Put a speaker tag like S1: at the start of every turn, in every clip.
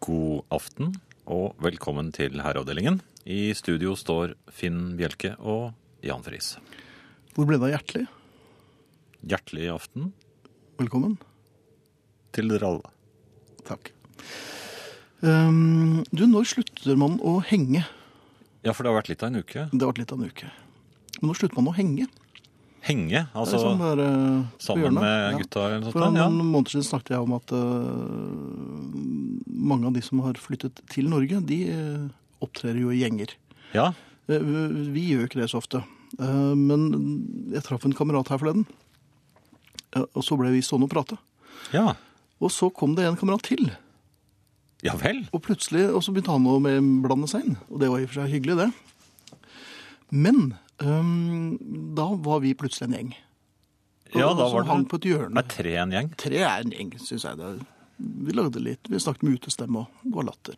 S1: God aften og velkommen til Herreavdelingen. I studio står Finn Bjelke og Jan Friis.
S2: Hvor ble det av Hjertelig?
S1: Hjertelig aften
S2: Velkommen.
S1: til dere alle.
S2: Takk. Ehm, du, når slutter man å henge?
S1: Ja, for det har vært litt av en uke.
S2: Det har vært litt av en uke. Men når slutter man å henge?
S1: Henge,
S2: Det er
S1: altså
S2: sånn bare på
S1: sammen
S2: hjørnet.
S1: med
S2: Ja.
S1: gutta eller noe
S2: For
S1: sånt.
S2: noen
S1: Ja.
S2: måneder siden snakket jeg om at eh, mange av de som har flyttet til Norge, de eh, opptrer jo i gjenger.
S1: ja.
S2: Eh, vi- vi gjør jo ikke det så ofte. Eh, men jeg traff en kamerat her forleden, Eh, og så ble vi stående og prate.
S1: ja.
S2: Og så kom det en kamerat til.
S1: Ja vel.
S2: Og plutselig og så begynte han å med- blande seg inn, og det var i og for seg hyggelig, det. Men øhm, da var vi plutselig en gjeng.
S1: Ja,
S2: Og-
S1: da
S2: som
S1: var
S2: hang
S1: det
S2: på et hjørne.
S1: Nei, tre en gjeng.
S2: Tre er en gjeng, syns jeg. Det. Vi lagde litt, vi snakket med utestemme og det var latter.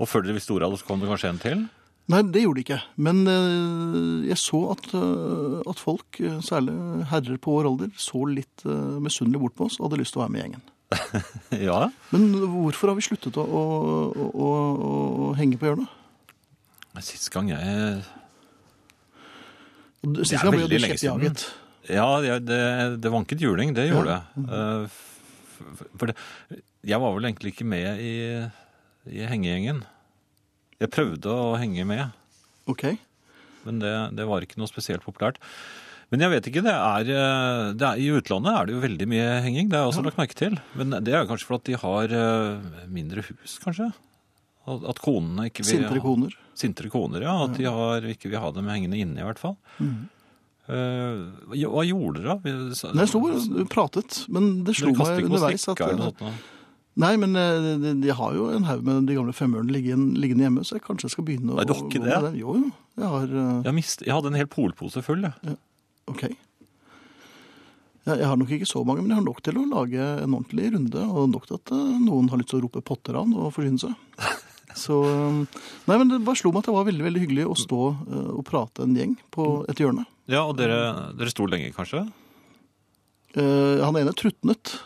S1: Og før dere visste ordet av det, så kom det kanskje en til.
S2: Nei, det gjorde det ikke. Men øh, jeg så at, øh, at folk, øh, særlig herrer på vår alder, så litt øh, misunnelig bort på oss og hadde lyst til å være med i gjengen.
S1: Ja.
S2: Men hvorfor har vi sluttet å, å, å, å, å henge på hjørnet?
S1: Sist gang jeg Det
S2: Sist
S1: er
S2: gang ble jo
S1: veldig
S2: du
S1: lenge siden.
S2: kjeppjaget.
S1: Ja, det, det, det vanket juling, det gjorde det. Eh, f- f- For det, jeg var vel egentlig ikke med i, i hengegjengen. Jeg prøvde å henge med,
S2: Ok.
S1: men det, det var ikke noe spesielt populært. Men jeg vet ikke, det er, eh, det er, i utlandet er det jo veldig mye henging, det har jeg også lagt merke til. Men det er jo kanskje fordi de har eh, mindre hus, kanskje? At at konene ikke vil
S2: Sintre koner.
S1: Sintre koner, ja. At de har, ikke vil ha dem hengende inne, i hvert fall. Eh, hva- hva gjorde dere? da?
S2: Mm. Nei, jeg sto bare og pratet, men det slo
S1: Dere kaster
S2: meg
S1: ikke noe
S2: underveis at
S1: strikker eller noe sånt? nå?
S2: Nei, men eh, de, de har jo en haug med de gamle femørene liggende, liggende hjemme, så jeg kanskje skal begynne
S1: Nei,
S2: å
S1: du har ikke
S2: gå
S1: det?
S2: med den. Jo, jo. Jeg har eh,
S1: Jeg, mist, jeg hadde en hel polpose full. jeg.
S2: OK. Jeg, jeg har nok ikke så mange, men jeg har nok til å lage en ordentlig runde, og nok til at eh, noen har lyst til å rope potteran og forsyne seg. Så eh, Nei, men det bare slo meg at det var veldig veldig hyggelig å stå eh, og prate en gjeng på et hjørne.
S1: Ja, og dere, dere sto lenge, kanskje?
S2: Eh, han ene trutnet.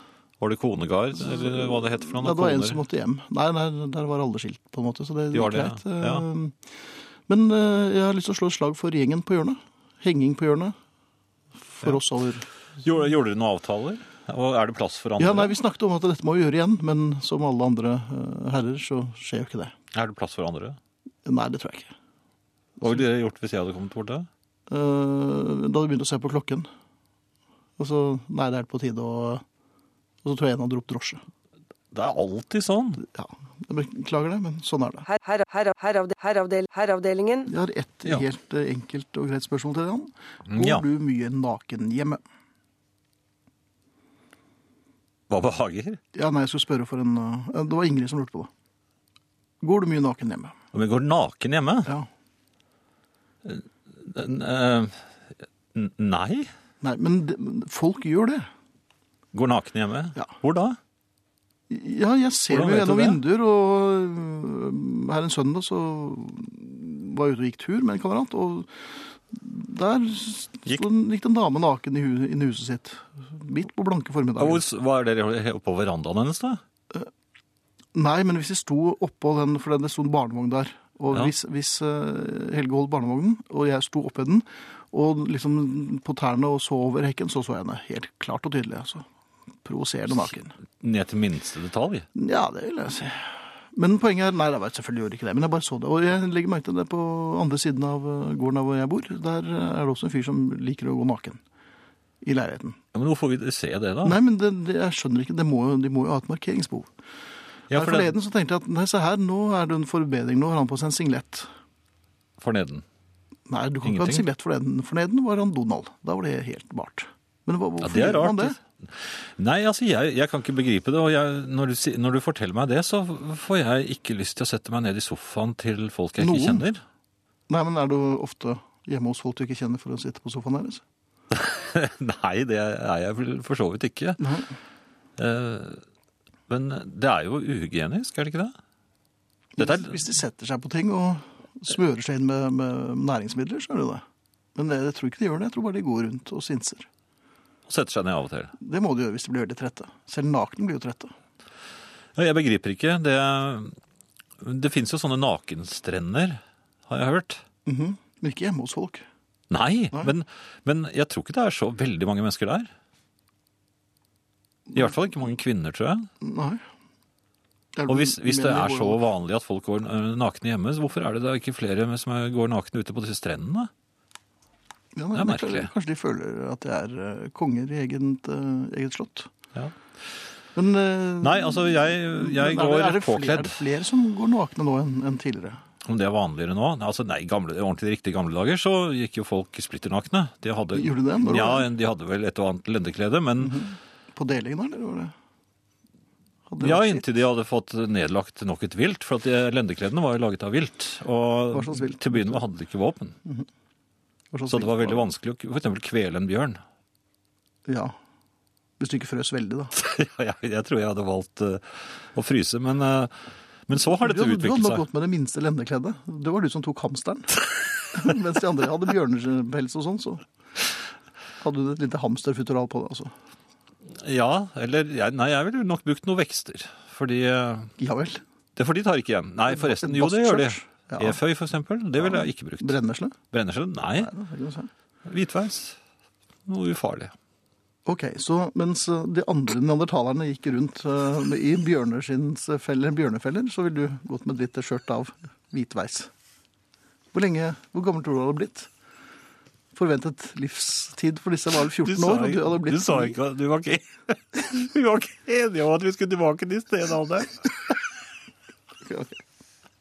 S1: Var det konegard, eller hva det heter for noe?
S2: Ja, det var en
S1: Koner.
S2: som måtte hjem. Nei, nei, der var alle skilt, på en måte. Så det
S1: De var
S2: gikk
S1: det,
S2: greit.
S1: ja. Ja.
S2: Eh, Men eh, jeg har lyst til å slå et slag for gjengen på hjørnet. Henging på hjørnet. For oss over.
S1: Gjorde, gjorde dere noen avtaler? Og er det plass for andre?
S2: Ja, nei, Vi snakket om at dette må vi gjøre igjen, men som alle andre eh, herrer, så skjer jo ikke det.
S1: Er det plass for andre?
S2: Nei, det tror jeg ikke.
S1: Hva ville dere gjort hvis jeg hadde kommet bort der?
S2: Eh, Da vi begynte å se på klokken Og så Nei, det er på tide å Og så tror jeg en hadde ropt drosje.
S1: Det er alltid sånn.
S2: Ja, jeg Beklager det, men sånn er det.
S3: Her, her, her, heravde, heravdel, heravdelingen.
S2: Jeg har ett
S1: Ja.
S2: helt eh, enkelt og greit spørsmål til deg, Jan. Går
S1: Ja.
S2: du mye naken hjemme?
S1: Hva behager?
S2: Ja, nei, jeg skulle spørre for en uh, Det var Ingrid som lurte på det. Går du mye naken hjemme?
S1: Om jeg går naken hjemme?
S2: Ja.
S1: N- eh, n- Nei.
S2: Nei, men det- men folk gjør det.
S1: Går naken hjemme?
S2: Ja.
S1: Hvor da?
S2: Ja, jeg ser
S1: Hvordan
S2: det jo
S1: vet du
S2: gjennom
S1: det?
S2: vinduer, og uh, her en søndag så var jeg ute og gikk tur med en kamerat, og der
S1: Gikk-
S2: gikk, gikk det en dame naken i hu- inn i huset sitt. Midt på blanke
S1: Og
S2: formiddagen.
S1: Hvor, hva er dere oppå verandaen hennes, da?
S2: Nei, men hvis de sto oppå den, for det sto en barnevogn der, og
S1: Ja.
S2: hvis, hvis eh, Helge holdt barnevognen, og jeg sto oppe i den, og liksom på tærne og så over hekken, så så jeg henne helt klart og tydelig. altså. Provoserende naken.
S1: Ned til minste detalj?
S2: Ja, det vil jeg si. Men poenget er Nei, jeg vet, selvfølgelig gjorde jeg ikke det, men jeg bare så det. Og jeg legger merke til det på andre siden av eh, gården av hvor jeg bor. Der eh, er det også en fyr som liker å gå naken i leiligheten.
S1: Ja, men hvorfor vil dere se det, da?
S2: Nei, men det, det, jeg skjønner ikke. Det må, jo- de må jo ha et markeringsbehov.
S1: ja,
S2: Her
S1: for det,
S2: forleden så tenkte jeg at nei, se her, nå er det en forbedring. Nå har han på seg en singlett.
S1: forneden.
S2: Nei, du kan ikke ha en
S1: Ingenting.
S2: singlett forleden. Forleden var han Donald. Da var det helt bart. Men hva,
S1: Ja,
S2: hvorfor
S1: det er
S2: gjør
S1: rart. altså.
S2: man det?
S1: Nei, altså, jeg, jeg kan ikke begripe det. Og jeg, når, du, si- når du forteller meg det, så får jeg ikke lyst til å sette meg ned i sofaen til folk jeg
S2: Noen?
S1: ikke kjenner.
S2: Nei, men er du ofte hjemme hos folk du ikke kjenner for å sitte på sofaen deres?
S1: Nei, det er jeg vel for så vidt ikke.
S2: Nei.
S1: Eh, Men det er jo uhygienisk, er det ikke det? Dette er-
S2: Hvis de setter seg på ting og smører seg inn med, med næringsmidler, så er det det. Men jeg, jeg tror ikke de gjør det. Jeg tror bare de går rundt og sinser.
S1: Å sette seg ned av og til.
S2: Det må de gjøre hvis de blir veldig trette. Selv nakne blir jo trette.
S1: Ja, Jeg begriper ikke. Det, Det fins jo sånne nakenstrender, har jeg hørt.
S2: Mhm. Men ikke hjemme hos folk.
S1: Nei, Men, men jeg tror ikke det er så veldig mange mennesker der. I hvert fall ikke mange kvinner, tror jeg.
S2: Nei. Er
S1: Og hvis, hvis det
S2: mener
S1: er
S2: hvor-
S1: så vanlig at folk går eh, nakne hjemme, så hvorfor er det da ikke flere som er- går nakne ute på disse strendene?
S2: Ja, nei,
S1: Det er
S2: men kanskje-
S1: merkelig.
S2: Kanskje de føler at de er eh, konger i eget, eh, eget slott.
S1: Ja.
S2: Men, eh,
S1: Nei, altså jeg,
S2: men
S1: jeg
S2: er det-
S1: går
S2: er det flere- Er
S1: påkledd.
S2: det flere som går nakne nå enn enn tidligere?
S1: Om det er vanligere nå? Nei, Altså, nei, i gamle, ordentlig riktig gamle dager så gikk jo folk splitter nakne. De hadde,
S2: Gjorde de det? Når
S1: Ja,
S2: var
S1: de hadde vel et og annet lendeklede, men
S2: På deling, da? Eller var det? Hadde det
S1: ja,
S2: vært
S1: inntil de hadde fått nedlagt nok et vilt, for at de- lendekledene var jo laget av vilt. Og
S2: Hva slags vilt?
S1: til å begynne med hadde de ikke våpen,
S2: Hva slags
S1: så det var
S2: vilt
S1: veldig vanskelig å k- for eksempel kvele en bjørn.
S2: Ja. Hvis du ikke frøs veldig, da.
S1: jeg, jeg tror jeg hadde valgt eh, å fryse, men, eh, men så har
S2: Du
S1: dette
S2: hadde, du hadde
S1: utviklet
S2: nok
S1: seg.
S2: gått med det minste lendekleddet. Det var du som tok hamsteren. Mens de andre hadde bjørnepels og sånn, så hadde du et lite hamsterfutteral på deg, altså.
S1: Ja, eller jeg, Nei, jeg ville nok brukt noen vekster. Fordi, eh,
S2: Ja vel.
S1: det, for de tar ikke igjen. Nei, forresten, jo det gjør de.
S2: Bastskjørt. Ja.
S1: Eføy, for eksempel, det ville jeg ikke brukt.
S2: Brennesle?
S1: Brennesle? Nei.
S2: Nei, det er ikke noe sånn.
S1: Hvitveis? Noe ufarlig.
S2: Ok, så mens eh, de andre neandertalerne gikk rundt eh, med- i bjørneskinnsfeller, bjørnefeller, så ville du gått med et lite skjørt av hvitveis. Hvor lenge, hvor gammel tror du du hadde blitt? Forventet livstid for disse var vel 14 år, og du hadde blitt...
S1: ikke Du var ikke, vi var ikke enige om at vi skulle tilbake til stenalderen.
S2: Ok.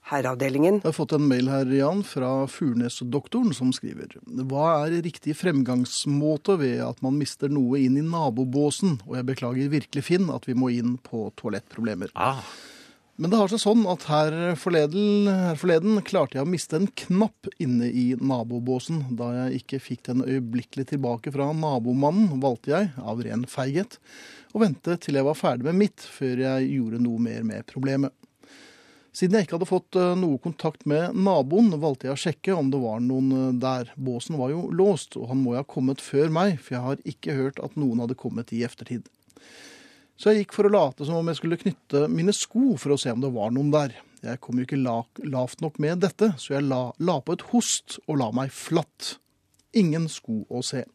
S3: Herreavdelingen.
S2: Jeg har fått en mail her, Jan, fra Furnesdoktoren, som skriver Hva er riktig fremgangsmåte ved at man mister noe inn i nabobåsen? Og jeg beklager virkelig, Finn, at vi må inn på toalettproblemer.
S1: Ah,
S2: Men det har seg sånn at her forleden, her forleden klarte jeg å miste en knapp inne i nabobåsen. Da jeg ikke fikk den øyeblikkelig tilbake fra nabomannen, valgte jeg, av ren feighet, å vente til jeg var ferdig med mitt før jeg gjorde noe mer med problemet. Siden jeg ikke hadde fått eh, noe kontakt med naboen, valgte jeg å sjekke om det var noen eh, der. Båsen var jo låst, og han må jo ha kommet før meg, for jeg har ikke hørt at noen hadde kommet i eftertid. Så jeg gikk for å late som om jeg skulle knytte mine sko for å se om det var noen der. Jeg kom jo ikke la, lavt nok med dette, så jeg la, la på et host og la meg flatt. Ingen sko å se.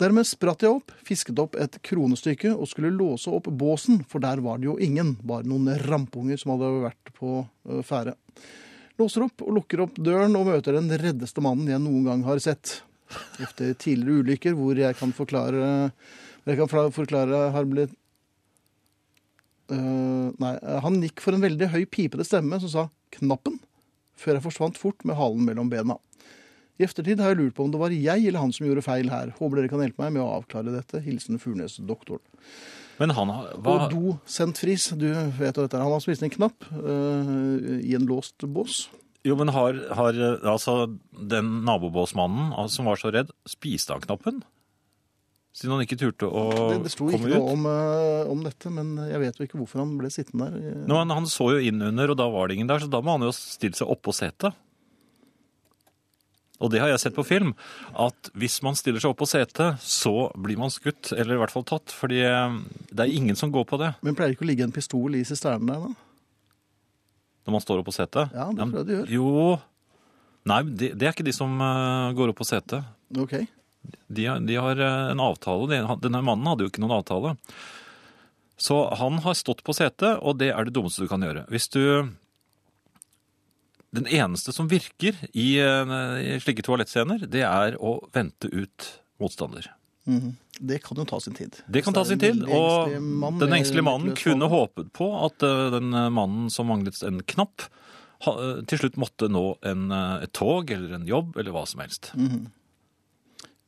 S2: Dermed spratt jeg opp, fisket opp et kronestykke og skulle låse opp båsen, for der var det jo ingen, bare noen rampunger som hadde vært på eh, ferde. Låser opp og lukker opp døren og møter den reddeste mannen jeg noen gang har sett. Etter tidligere ulykker hvor jeg kan forklare, hvor jeg kan fla- forklare har blitt Eh, nei, eh, han gikk for en veldig høy pipete stemme som sa 'knappen', før jeg forsvant fort med halen mellom bena. I eftertid har jeg lurt på om det var jeg eller han som gjorde feil her. Håper dere kan hjelpe meg med å avklare dette. Hilsen Furnes-doktoren.
S1: men han har hva-
S2: Og do sendt fris. Du vet jo dette. er. Han har spist en knapp eh, i en låst bås.
S1: Jo, men har, har eh, altså den nabobåsmannen altså, som var så redd, spiste han knappen? Siden han ikke turte å
S2: Det, det sto ikke
S1: komme ut?
S2: noe om, eh, om dette, men jeg vet jo ikke hvorfor han ble sittende der. Eh,
S1: Nå, han, han så jo inn under, og da var det ingen der, så da må han jo stille seg oppå setet. Og det har jeg sett på film, at hvis man stiller seg oppå setet, så blir man skutt, eller i hvert fall tatt, fordi eh, det er ingen som går på det
S2: Men pleier det ikke å ligge en pistol i sisternen der, da?
S1: når man står oppå setet.
S2: Ja, det tror jeg det gjør.
S1: Jo, nei, men det, det er ikke de som eh, går opp på setet.
S2: OK.
S1: De, har- de har eh, en avtale. De- han- Denne mannen hadde jo ikke noen avtale. Så han har stått på setet, og det er det dummeste du kan gjøre. Hvis du Den eneste som virker i, eh, i slike toalettscener, det er å vente ut motstander.
S2: Mhm. Det kan jo ta sin tid.
S1: Det kan ta
S2: Hvis
S1: sin
S2: det er en
S1: tid,
S2: veldig
S1: og
S2: engstelig mann
S1: den
S2: med
S1: engstelige mannen
S2: utløst
S1: kunne
S2: hånd.
S1: håpet på at eh, den mannen som manglet en knapp, ha- eh, til slutt måtte nå en, eh, et tog eller en jobb eller hva som helst.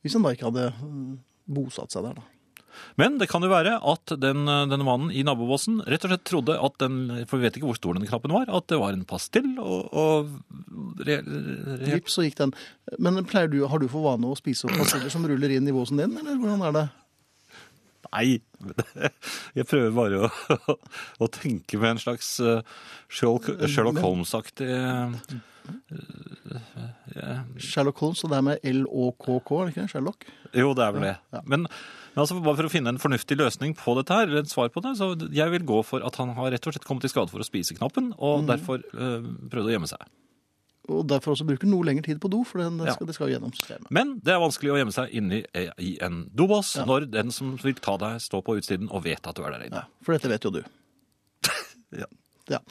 S2: Hvis han da ikke hadde øh, bosatt seg der, da.
S1: Men det kan jo være at den, denne mannen i nabobåsen rett og slett trodde at den, for vi vet ikke hvor stor den knappen var, at det var en pastill og, og re, re,
S2: Vips, så gikk den. Men pleier du, har du for vane å spise opp pastiller som ruller inn i båsen din, eller hvordan er det?
S1: Nei! Jeg prøver bare å, å tenke med en slags eh, Sherlock, Sherlock Holmes-aktig eh,
S2: Sherlock Holmes, og det er med L-O-K-K, er det ikke det? Sherlock?
S1: Jo, det er vel det. Men Men altså, bare for å finne en fornuftig løsning på dette her, eller et svar på det, så jeg vil gå for at han har rett og slett kommet i skade for å spise knappen, og derfor eh, prøvde å gjemme seg.
S2: Og derfor også bruker noe lengre tid på do, for den
S1: Ja.
S2: skal, det skal jo gjennom systemet.
S1: Men det er vanskelig å gjemme seg inni eh, i en dobås når den som vil ta deg, står på utsiden og vet at du er der inne.
S2: Ja, for dette vet jo du.
S1: Ja.
S2: Ja.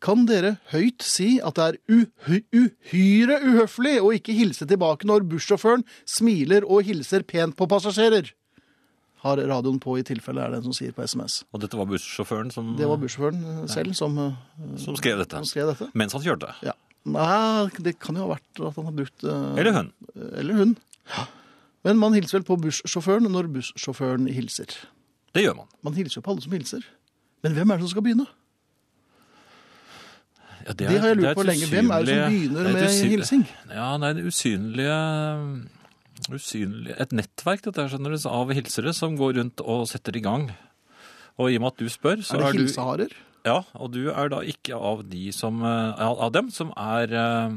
S2: Kan dere høyt si at det er uhy uhyre uhøflig å ikke hilse tilbake når bussjåføren smiler og hilser pent på passasjerer? Har radioen på i tilfelle er det en som sier på SMS.
S1: Og dette var bussjåføren som,
S2: Det var bussjåføren eh, selv som eh,
S1: som skrev dette.
S2: som skrev dette.
S1: Mens han kjørte.
S2: Ja. Nei, det kan jo ha vært at han har brukt eh,
S1: Eller hun.
S2: Eller hun. Men man hilser vel på bussjåføren når bussjåføren hilser.
S1: Det gjør man.
S2: Man hilser jo på alle som hilser. Men hvem er det som skal begynne?
S1: Ja,
S2: Det, har jeg
S1: er
S2: lurt
S1: et
S2: på lenge. Hvem er det som
S1: usynlig-
S2: begynner
S1: det er et
S2: med
S1: usynlig-
S2: hilsing?
S1: Ja, det er det usynlige usynlig, Et nettverk dette her, skjønner du, av hilsere som går rundt og setter i gang. Og i og med at du spør, så
S2: er det
S1: er, du
S2: hilseharer?
S1: Ja, og du er da ikke av, de som, eh, av dem som er eh,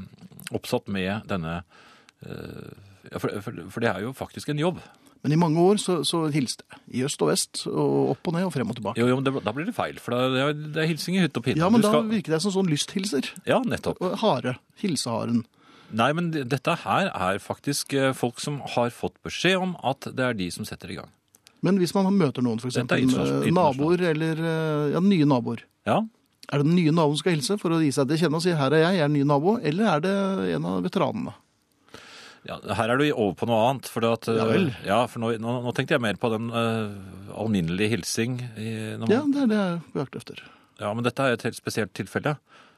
S1: oppsatt med denne eh, ja, for, for, for det er jo faktisk en jobb.
S2: Men i mange år så, så hilste jeg. I øst og vest, og opp og ned og frem og tilbake.
S1: Jo, jo, men det, da blir det feil, for det er, det er hilsing i hytt og pinne.
S2: Ja, men
S1: Du
S2: da
S1: skal-
S2: virker jeg som sånn lysthilser.
S1: Ja, nettopp.
S2: Og Hare. Hilseharen.
S1: Nei, men det- dette her er faktisk eh, folk som har fått beskjed om at det er de som setter i gang.
S2: Men hvis man møter noen, f.eks.
S1: Dette er internasjonalt-
S2: naboer eller eh, ja, nye naboer
S1: Ja,
S2: Er det den nye naboen som skal hilse for å gi seg til kjenne og si 'her er jeg, jeg er ny nabo'? Eller er det en av veteranene?
S1: Ja, her er du over på noe annet. For, det at,
S2: Ja vel.
S1: eh, ja, for nå, nå, nå tenkte jeg mer på den eh, alminnelige hilsing. I, når man,
S2: Ja, det er det jeg er på jakt efter.
S1: ja. Men dette er et helt spesielt tilfelle.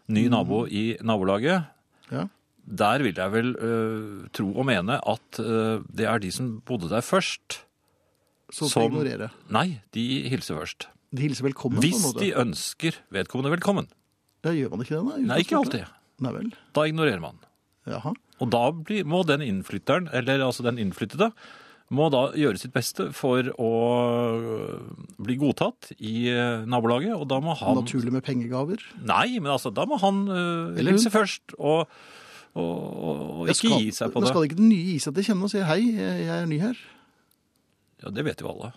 S1: Ny
S2: Mm.
S1: nabo i nabolaget.
S2: Ja.
S1: Der vil jeg vel eh, tro og mene at eh, det er de som bodde der først. Som-
S2: Så som... ignorere.
S1: Nei, de hilser først.
S2: De hilser velkommen.
S1: Hvis
S2: på en måte.
S1: de ønsker vedkommende velkommen.
S2: Ja, gjør man ikke det, nei?
S1: Nei, ikke alltid.
S2: Nei vel.
S1: Da ignorerer man.
S2: Jaha.
S1: Og da blir, må den innflytteren, eller altså den innflyttede, må da gjøre sitt beste for å øh, bli godtatt i eh, nabolaget, og da må han
S2: Naturlig med pengegaver.
S1: Nei, men altså, da må han eh,
S2: Eller hun.
S1: hilse først, og, og, og, og
S2: Jeg
S1: ikke
S2: skal-
S1: gi seg på
S2: men
S1: det.
S2: Skal ikke den nye gi seg til kjenne og si 'hei, jeg jeg er ny her'?
S1: Ja, det vet jo alle.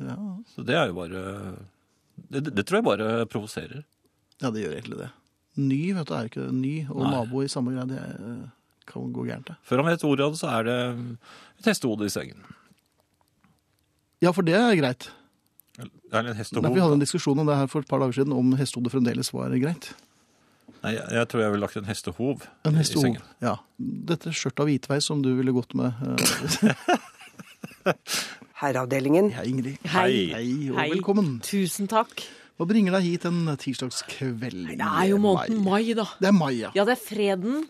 S2: Ja,
S1: Så det er jo bare Det, det tror jeg bare provoserer.
S2: ja det gjør egentlig det. Ny vet du, er ikke det. ny, og
S1: Nei.
S2: nabo i samme greie, det eh, kan gå gærent. det.
S1: Før han vet ordet av det, så er det et hestehode i sengen.
S2: Ja, for det er greit.
S1: Eller en
S2: Nei,
S1: hestehov.
S2: for vi hadde en diskusjon om det her for et par dager siden, om hestehodet fremdeles var greit.
S1: Nei, jeg, jeg tror jeg ville lagt en hestehov
S2: En
S1: i sengen.
S2: hestehov, ja. Dette skjørtet av hvitveis som du ville gått med. eh,
S3: Herreavdelingen.
S2: Hei, Ingrid.
S1: Hei.
S2: Hei, og
S4: Hei.
S2: velkommen.
S4: Tusen takk.
S2: Hva bringer deg hit en tirsdagskveld? i
S4: Det er jo måneden mai, da.
S2: Det er mai, ja.
S4: Ja, det er freden,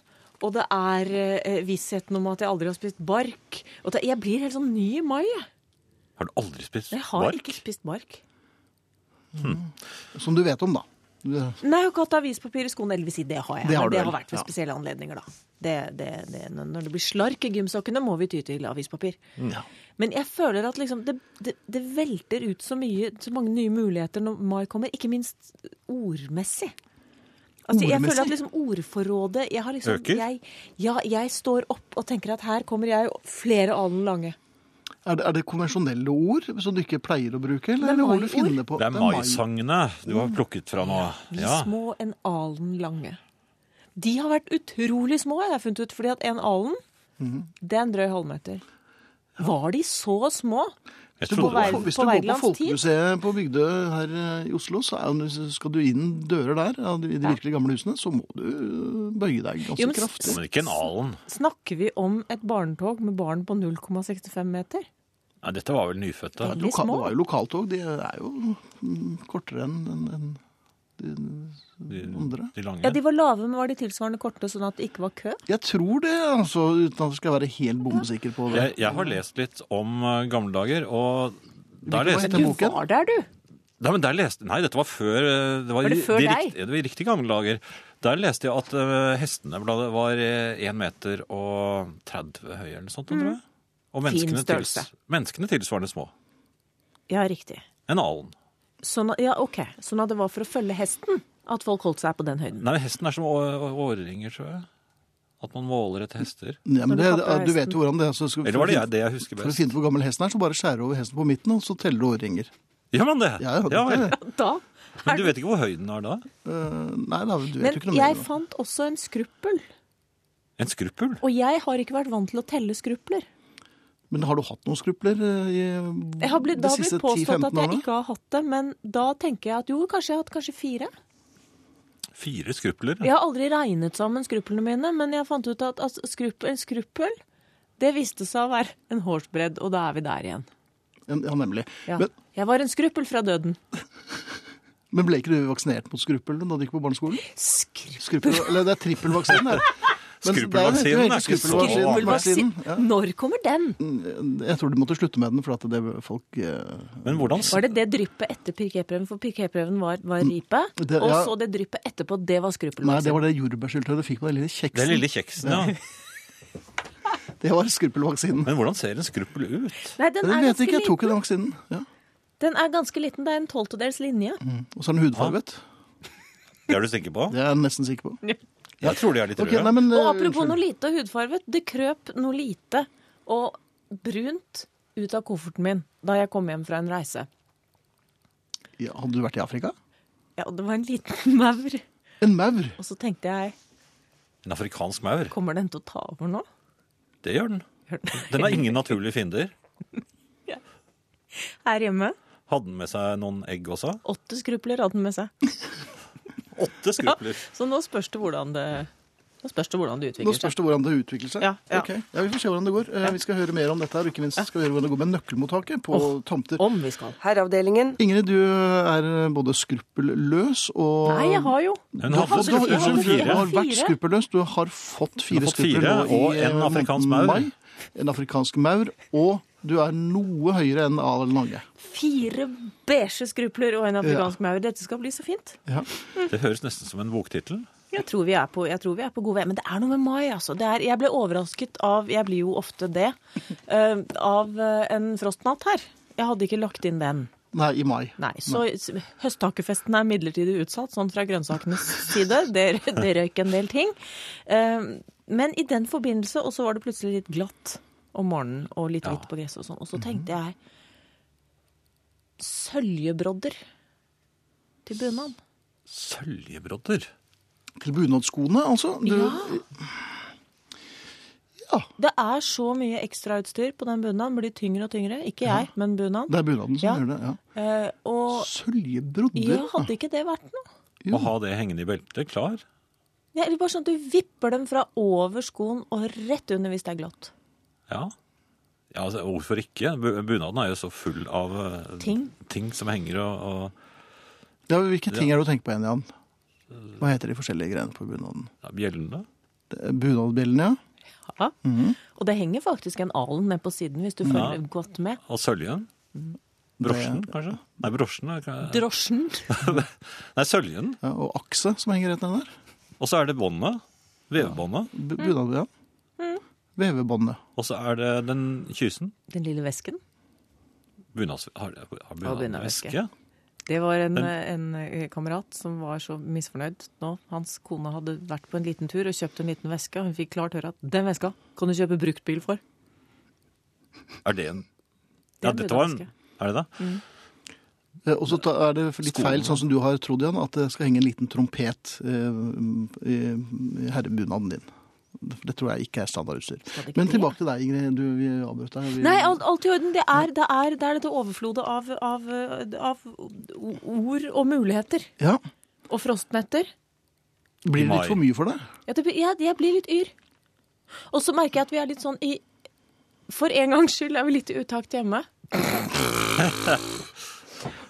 S4: og det er eh, vissheten om at jeg aldri har spist bark. Og det, jeg blir helt sånn ny i mai. jeg.
S1: Har du aldri spist
S4: Jeg har
S1: bark?
S4: ikke spist bark.
S2: Som du vet om, da. Du-
S4: Nei, jeg har ikke hatt avispapir i skoene. Eller vil si, det har jeg.
S2: Det har
S4: men
S2: du
S4: det
S2: vel,
S4: har vært ved
S2: ja.
S4: spesielle anledninger, da. Det, det, det, når når det blir slark i gymsokkene, må vi ty til avispapir.
S2: Ja.
S4: Men jeg føler at liksom, det, det, det velter ut så, mye, så mange nye muligheter når mai kommer. Ikke minst ordmessig. Altså, jeg føler
S2: Ordmessig?
S4: at liksom ordforrådet jeg har liksom,
S1: Øker?
S4: Jeg, ja, jeg står opp og tenker at her kommer jeg og flere alen lange.
S2: Er det, er det konvensjonelle ord som du ikke pleier å bruke? Eller,
S4: Det er
S2: eller holder du
S4: maiord.
S2: finne på?
S1: Det er
S2: mai. Mm.
S1: maisangene du har plukket fra nå.
S4: Vi
S1: Ja.
S4: små en alen lange. De har vært utrolig små, jeg har jeg funnet ut, fordi at en alen,
S1: Mhm.
S4: det er en drøy halvmeter. Var de så små?
S1: Jeg
S2: Hvis du,
S1: trodde
S2: går
S1: det
S4: vei-
S1: var
S2: på, hvis
S4: på
S2: du går på
S4: Wergelands tid?
S2: Folkemuseet på Bygdø her eh, i Oslo, så er, skal du inn dører der, ja, i de virkelig gamle husene, så må du eh, bøye deg ganske
S4: Jo, men s-
S2: kraftig.
S1: Men ikke en alen.
S4: Snakker vi om et barnetog med barn på 0,65 meter?
S1: Nei, dette var vel nyfødte.
S2: Det er
S4: veldig
S2: loka-
S4: små.
S2: Det var jo lokaltog, de er jo mm, kortere enn enn- enn de
S1: De,
S2: andre.
S1: de
S4: Ja,
S1: lange.
S4: de var lave, men var de tilsvarende korte, sånn at det ikke var kø?
S2: Jeg tror det, altså, uten at jeg skal være helt bombesikker på det.
S1: Jeg, jeg har lest litt om eh, gamle dager, og der
S2: Hvilken
S1: leste
S2: vei
S1: jeg
S2: heter
S4: Du
S2: boken?
S4: var der, du!
S1: Nei, men der leste, nei dette var før eh, Det var,
S4: Var det
S1: i-
S4: før
S1: de,
S4: deg?
S1: riktige- det var i riktig gamle dager. Der leste jeg at eh, hestene ble- var eh, 1 meter og 30 høye eller noe sånt. tror jeg. Og
S4: Mm. Fin
S1: menneskene, tils,
S4: størrelse.
S1: menneskene tilsvarende små.
S4: Ja, riktig.
S1: En alen.
S4: Sånn, at- ja, ok. Sånn at det var for å følge hesten at folk holdt seg på den høyden.
S1: Nei, hesten er som å- å- årringer, tror jeg. At man måler etter hester?
S2: Ja, men
S4: Når du
S2: det,
S4: kapper
S2: du vet jo hvordan det er. Så skal,
S1: Eller var det jeg, det jeg husker
S2: For å
S1: best?
S2: finne ut hvor gammel hesten er, så bare skjærer du over hesten på midten, og så teller du årringer.
S1: Gjør man det?
S2: Ja, det
S1: ja
S2: er
S1: vel.
S2: det.
S4: Da
S1: Men du vet ikke hvor høy den er da?
S2: Eh, nei, da, du vet
S4: Men
S2: jo ikke noe mer.
S4: jeg
S2: om det.
S4: fant også en skruppel.
S1: En skruppel?
S4: Og jeg har ikke vært vant til å telle skrupler.
S2: Men har du hatt noen skrupler eh, i
S4: Jeg har blitt,
S2: de
S4: da har blitt
S2: siste
S4: påstått at
S2: 10-15
S4: jeg
S2: årene?
S4: ikke har hatt det, men da tenker jeg at jo, kanskje jeg har hatt kanskje fire.
S1: Fire skrupler?
S4: Jeg har aldri regnet sammen skruplene mine, men jeg fant ut at altså, skrupp, en skruppel, det viste seg å være en hårsbredd, og da er vi der igjen.
S2: Ja, ja, nemlig.
S4: Ja.
S2: Men,
S4: Jeg var en skruppel fra døden.
S2: men ble ikke du vaksinert mot skruppel da du gikk på barneskolen?
S4: Skruppel.
S2: Skruppel, eller det er trippelvaksinen her. Men det jo-
S1: Skruppelvaksinen er
S2: det
S1: ikke
S2: jo
S1: så
S2: skruppelvaksinen,
S4: Skruppelvaksinen. Når kommer den?
S2: Mm. Ja. Jeg tror du måtte slutte med den, for at det folk eh,
S1: Men hvordan s-
S4: Var det det dryppet etter pirkeprøven? For pirkeprøven var, var ripe.
S2: Mm. Det-
S4: Og
S2: ja.
S4: så det dryppet etterpå, det var
S2: Nei, det
S4: skruppelvaksin.
S2: var det jordbærsyltetøyet du fikk på den lille kjeksen.
S1: Det er lille kjeksen, ja.
S2: Det var skruppelvaksinen.
S1: Men hvordan ser en skruppel ut?
S4: Nei, den
S2: Jeg
S4: er,
S2: vet
S4: ganske
S2: ikke, jeg
S4: liten.
S2: tok ikke den vaksinen. Ja.
S4: den er ganske liten. Det er en tolvtedels linje.
S2: Og så er den hudfarget.
S1: Det er du sikker på?
S2: Det er jeg nesten sikker på.
S1: Jeg tror de er litt
S2: Ok,
S1: røde.
S2: nei, men,
S4: Og
S2: eh,
S4: apropos
S2: unnskyld.
S4: noe lite og hudfarvet, det krøp noe lite og brunt ut av kofferten min da jeg kom hjem fra en reise.
S2: ja, Hadde du vært i Afrika?
S4: Ja, og det var en liten maur.
S2: En maur.
S4: Og så tenkte jeg,
S1: En afrikansk maur.
S4: kommer den til å ta over nå?
S1: Det gjør den.
S4: Gjør den-
S1: Den har ingen naturlige fiender.
S4: Her hjemme,
S1: Hadde den med seg noen egg også?
S4: åtte skrupler hadde den med seg.
S1: Åtte skrupler.
S4: Så nå spørs det hvordan det, nå spørs det, hvordan det
S2: Nå
S4: utvikler seg.
S2: spørs det hvordan det utvikler seg.
S4: Ja, ja.
S2: Ok. ja Vi får se hvordan det går. Eh, Vi skal høre mer om dette her, og ikke minst skal vi høre hvordan det går med nøkkelmottaket på tomter.
S4: Om vi skal.
S3: Herreavdelingen.
S2: Ingrid, du er både skruppelløs og
S4: Nei, jeg har jo.
S1: Hun hadde
S2: Du har-
S4: hadde
S2: du har-
S1: skrupler.
S2: unnskyld,
S4: fire.
S1: Fire.
S2: Du har vært
S4: Fire.
S2: skruppelløs. Du har fått fire
S1: Du har fått
S2: skrupler
S1: fire,
S2: nå i
S1: og en
S2: eh,
S1: afrikansk
S2: måneden
S1: maur.
S2: mai. En afrikansk maur, og du er noe høyere enn Arild Norge.
S4: Fire beige skrupler og en afrikansk maur. Dette skal bli så fint.
S2: Ja.
S1: Det høres nesten som en boktittel.
S4: Jeg tror vi er på, jeg tror vi er på god vei. Men det er noe med mai, altså. Det er, jeg ble overrasket av Jeg blir jo ofte det. eh, av eh, en frostnatt her. Jeg hadde ikke lagt inn den.
S2: Nei, i mai.
S4: Nei, Så s- høsthakefesten er midlertidig utsatt, sånn fra grønnsakenes side. Det, det røyk en del ting. Eh, men i den forbindelse, og så var det plutselig litt glatt om morgenen, og litt hvitt på gresset og sånn. Og så tenkte jeg Søljebrodder til bunad.
S1: Søljebrodder.
S2: Til bunadskoene, altså. Du,
S4: Ja. Det er så mye ekstrautstyr på den bunaden. Blir tyngre og tyngre. Ikke jeg, men bunaden.
S2: Det er bunaden som
S4: Ja.
S2: gjør det. ja.
S4: Eh, og ja,
S2: Søljebrodder.
S4: hadde ikke det vært noe?
S1: Å ha det hengende i beltet. Klar.
S4: Ja, eller bare sånn at du vipper dem fra over skoen og rett under hvis det er glatt.
S1: Ja. ja altså, hvorfor ikke? Bu- Bunaden er jo så full av eh,
S4: Ting.
S1: ting som henger og, og
S2: Ja, hvilke ting er det du tenker på igjen, Jan? Hva heter de forskjellige greiene på bunaden?
S1: ja, bjellene.
S2: Det er Bunadbjellene, ja.
S4: Ja. Og det henger faktisk en alen ned på siden hvis du følger godt med.
S1: Og søljen. Brosjen, kanskje? Nei, brosjen er ikke-
S4: Drosjen.
S1: Nei, søljen.
S2: ja. Og akse som henger rett ned der.
S1: Og så er det båndet. Vevebåndet.
S2: Bu-
S4: Mm.
S2: Bunadbjellen. Vevebåndet.
S1: Og så er det den kysen.
S4: Den lille vesken.
S1: Bunads, har har bunaden
S4: bunadveske.
S1: væske?
S4: Det var en, en eh, kamerat som var så misfornøyd nå. Hans kone hadde vært på en liten tur og kjøpt en liten veske, og hun fikk klart høre at den veska kan du kjøpe bruktbil for.
S1: Er det en
S4: er Mm.
S1: Ja,
S4: en
S1: dette var en
S4: bunadveske.
S1: Er det det?
S2: Eh, Og så ta- er det litt
S1: Skolen.
S2: feil, sånn som du har trodd, Jan, at det skal henge en liten trompet eh, i i herrebunaden din. Det tror jeg ikke er standardutstyr.
S4: det ikke
S2: Men
S4: det,
S2: tilbake til deg, Ingrid. Du, vi avbrøt deg. Vi,
S4: Nei, alt, alt i orden. Det er, det er, det er dette overflodet av, av, av o- ord og muligheter.
S2: Ja.
S4: Og frostnetter.
S1: I
S2: Blir det
S1: mai.
S2: litt for mye for deg?
S4: Jeg, tror- jeg, jeg blir litt yr. Og så merker jeg at vi er litt sånn i For en gangs skyld er vi litt i utakt hjemme.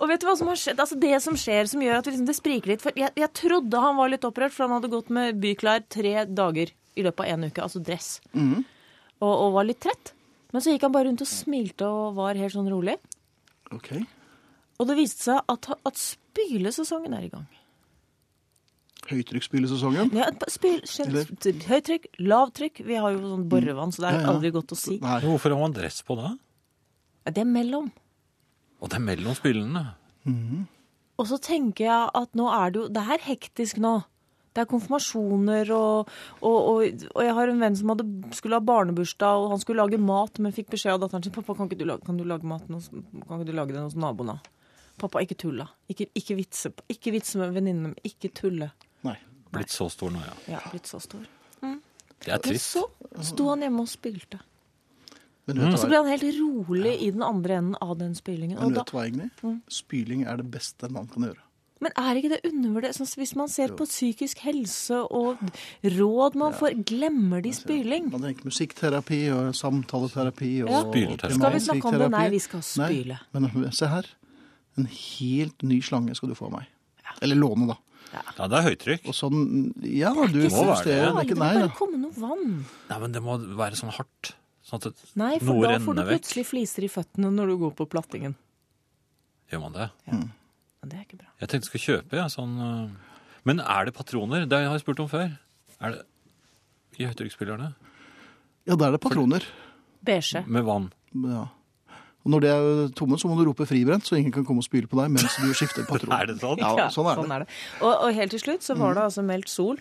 S4: Og vet du hva som har skjedd? Altså Det som skjer som gjør at vi liksom, det spriker litt for jeg, jeg trodde han var litt opprørt, for han hadde gått med byklær tre dager i løpet av en uke, altså dress, og, og var litt trett. Men så gikk han bare rundt og smilte og var helt sånn rolig.
S2: Ok.
S4: Og det viste seg at, at spylesesongen er i gang.
S2: Høytrykksspillesesongen?
S4: Ja, at spyl,
S2: Eller- Mm.
S4: skjønn- høytrykk, lavtrykk. Vi har jo sånn borevann, så
S2: Ja,
S4: det er
S2: ja.
S4: aldri godt å si.
S2: Nei.
S1: Men Hvorfor har man dress på da?
S4: Ja, Det er mellom.
S1: Og det er mellom spillene.
S4: Og så tenker jeg at nå er det jo Det er hektisk nå. Det er konfirmasjoner, og, og, og, og jeg har en venn som hadde, skulle ha barnebursdag, og han skulle lage mat, men fikk beskjed av datteren sin pappa, kan ikke du lage, kan du lage maten hos, kan ikke du lage den hos naboen? da?» Pappa, ikke tulla. Ikke, ikke vitse Ikke vitse med venninnen min. Ikke tulle.
S2: Nei.
S1: Blitt så stor nå, ja.
S4: Jeg er blitt så stor.
S1: Det er
S4: Men
S1: trist.
S4: så sto han hjemme og spilte.
S2: Men
S1: Mm.
S2: vet
S4: Og
S2: du
S4: så ble
S2: hva,
S4: han helt rolig i den andre enden av den spillingen.
S2: men
S4: Og da,
S2: vet
S4: Mm.
S2: du hva Egni? Spyling er det beste en mann kan gjøre.
S4: men er ikke det undervurdert? Sånn, hvis man ser på psykisk helse og råd man får, glemmer de spyling?
S2: Man tenker musikkterapi og samtaleterapi og
S4: Ja.
S1: Spylterapi.
S4: Skal vi snakke om det?
S2: primærmusikkterapi.
S4: Nei, vi skal spyle.
S2: Nei, men se her. En helt ny slange skal du få av meg. Eller låne, da.
S1: Ja, det er høytrykk.
S2: Og sånn Ja, du
S4: ikke så
S2: justerer den
S4: Farlig, det
S2: ikke.
S4: må
S2: Nei,
S4: bare
S2: ja.
S4: komme noe vann.
S1: Nei, men det må være sånn hardt. Sånn at
S4: Nei, for
S1: noe
S4: da får du
S1: renner vekk.
S4: plutselig fliser i føttene når du går på plattingen.
S1: Gjør man det?
S4: Men det er ikke bra.
S1: Jeg tenkte jeg skulle kjøpe, ja, sånn øh. Men er det patroner? Det har jeg spurt om før. Er det i høytrykksspillerne?
S2: ja, da er det patroner.
S4: Beige.
S2: Mm.
S1: Med vann.
S2: Ja. Og når de er tomme, så må du rope fribrent, så ingen kan komme og spyle på deg mens du skifter patron.
S1: Er det sånn?
S2: Ja, sånn er det. Mm.
S4: Og, og helt til slutt så var det altså meldt sol.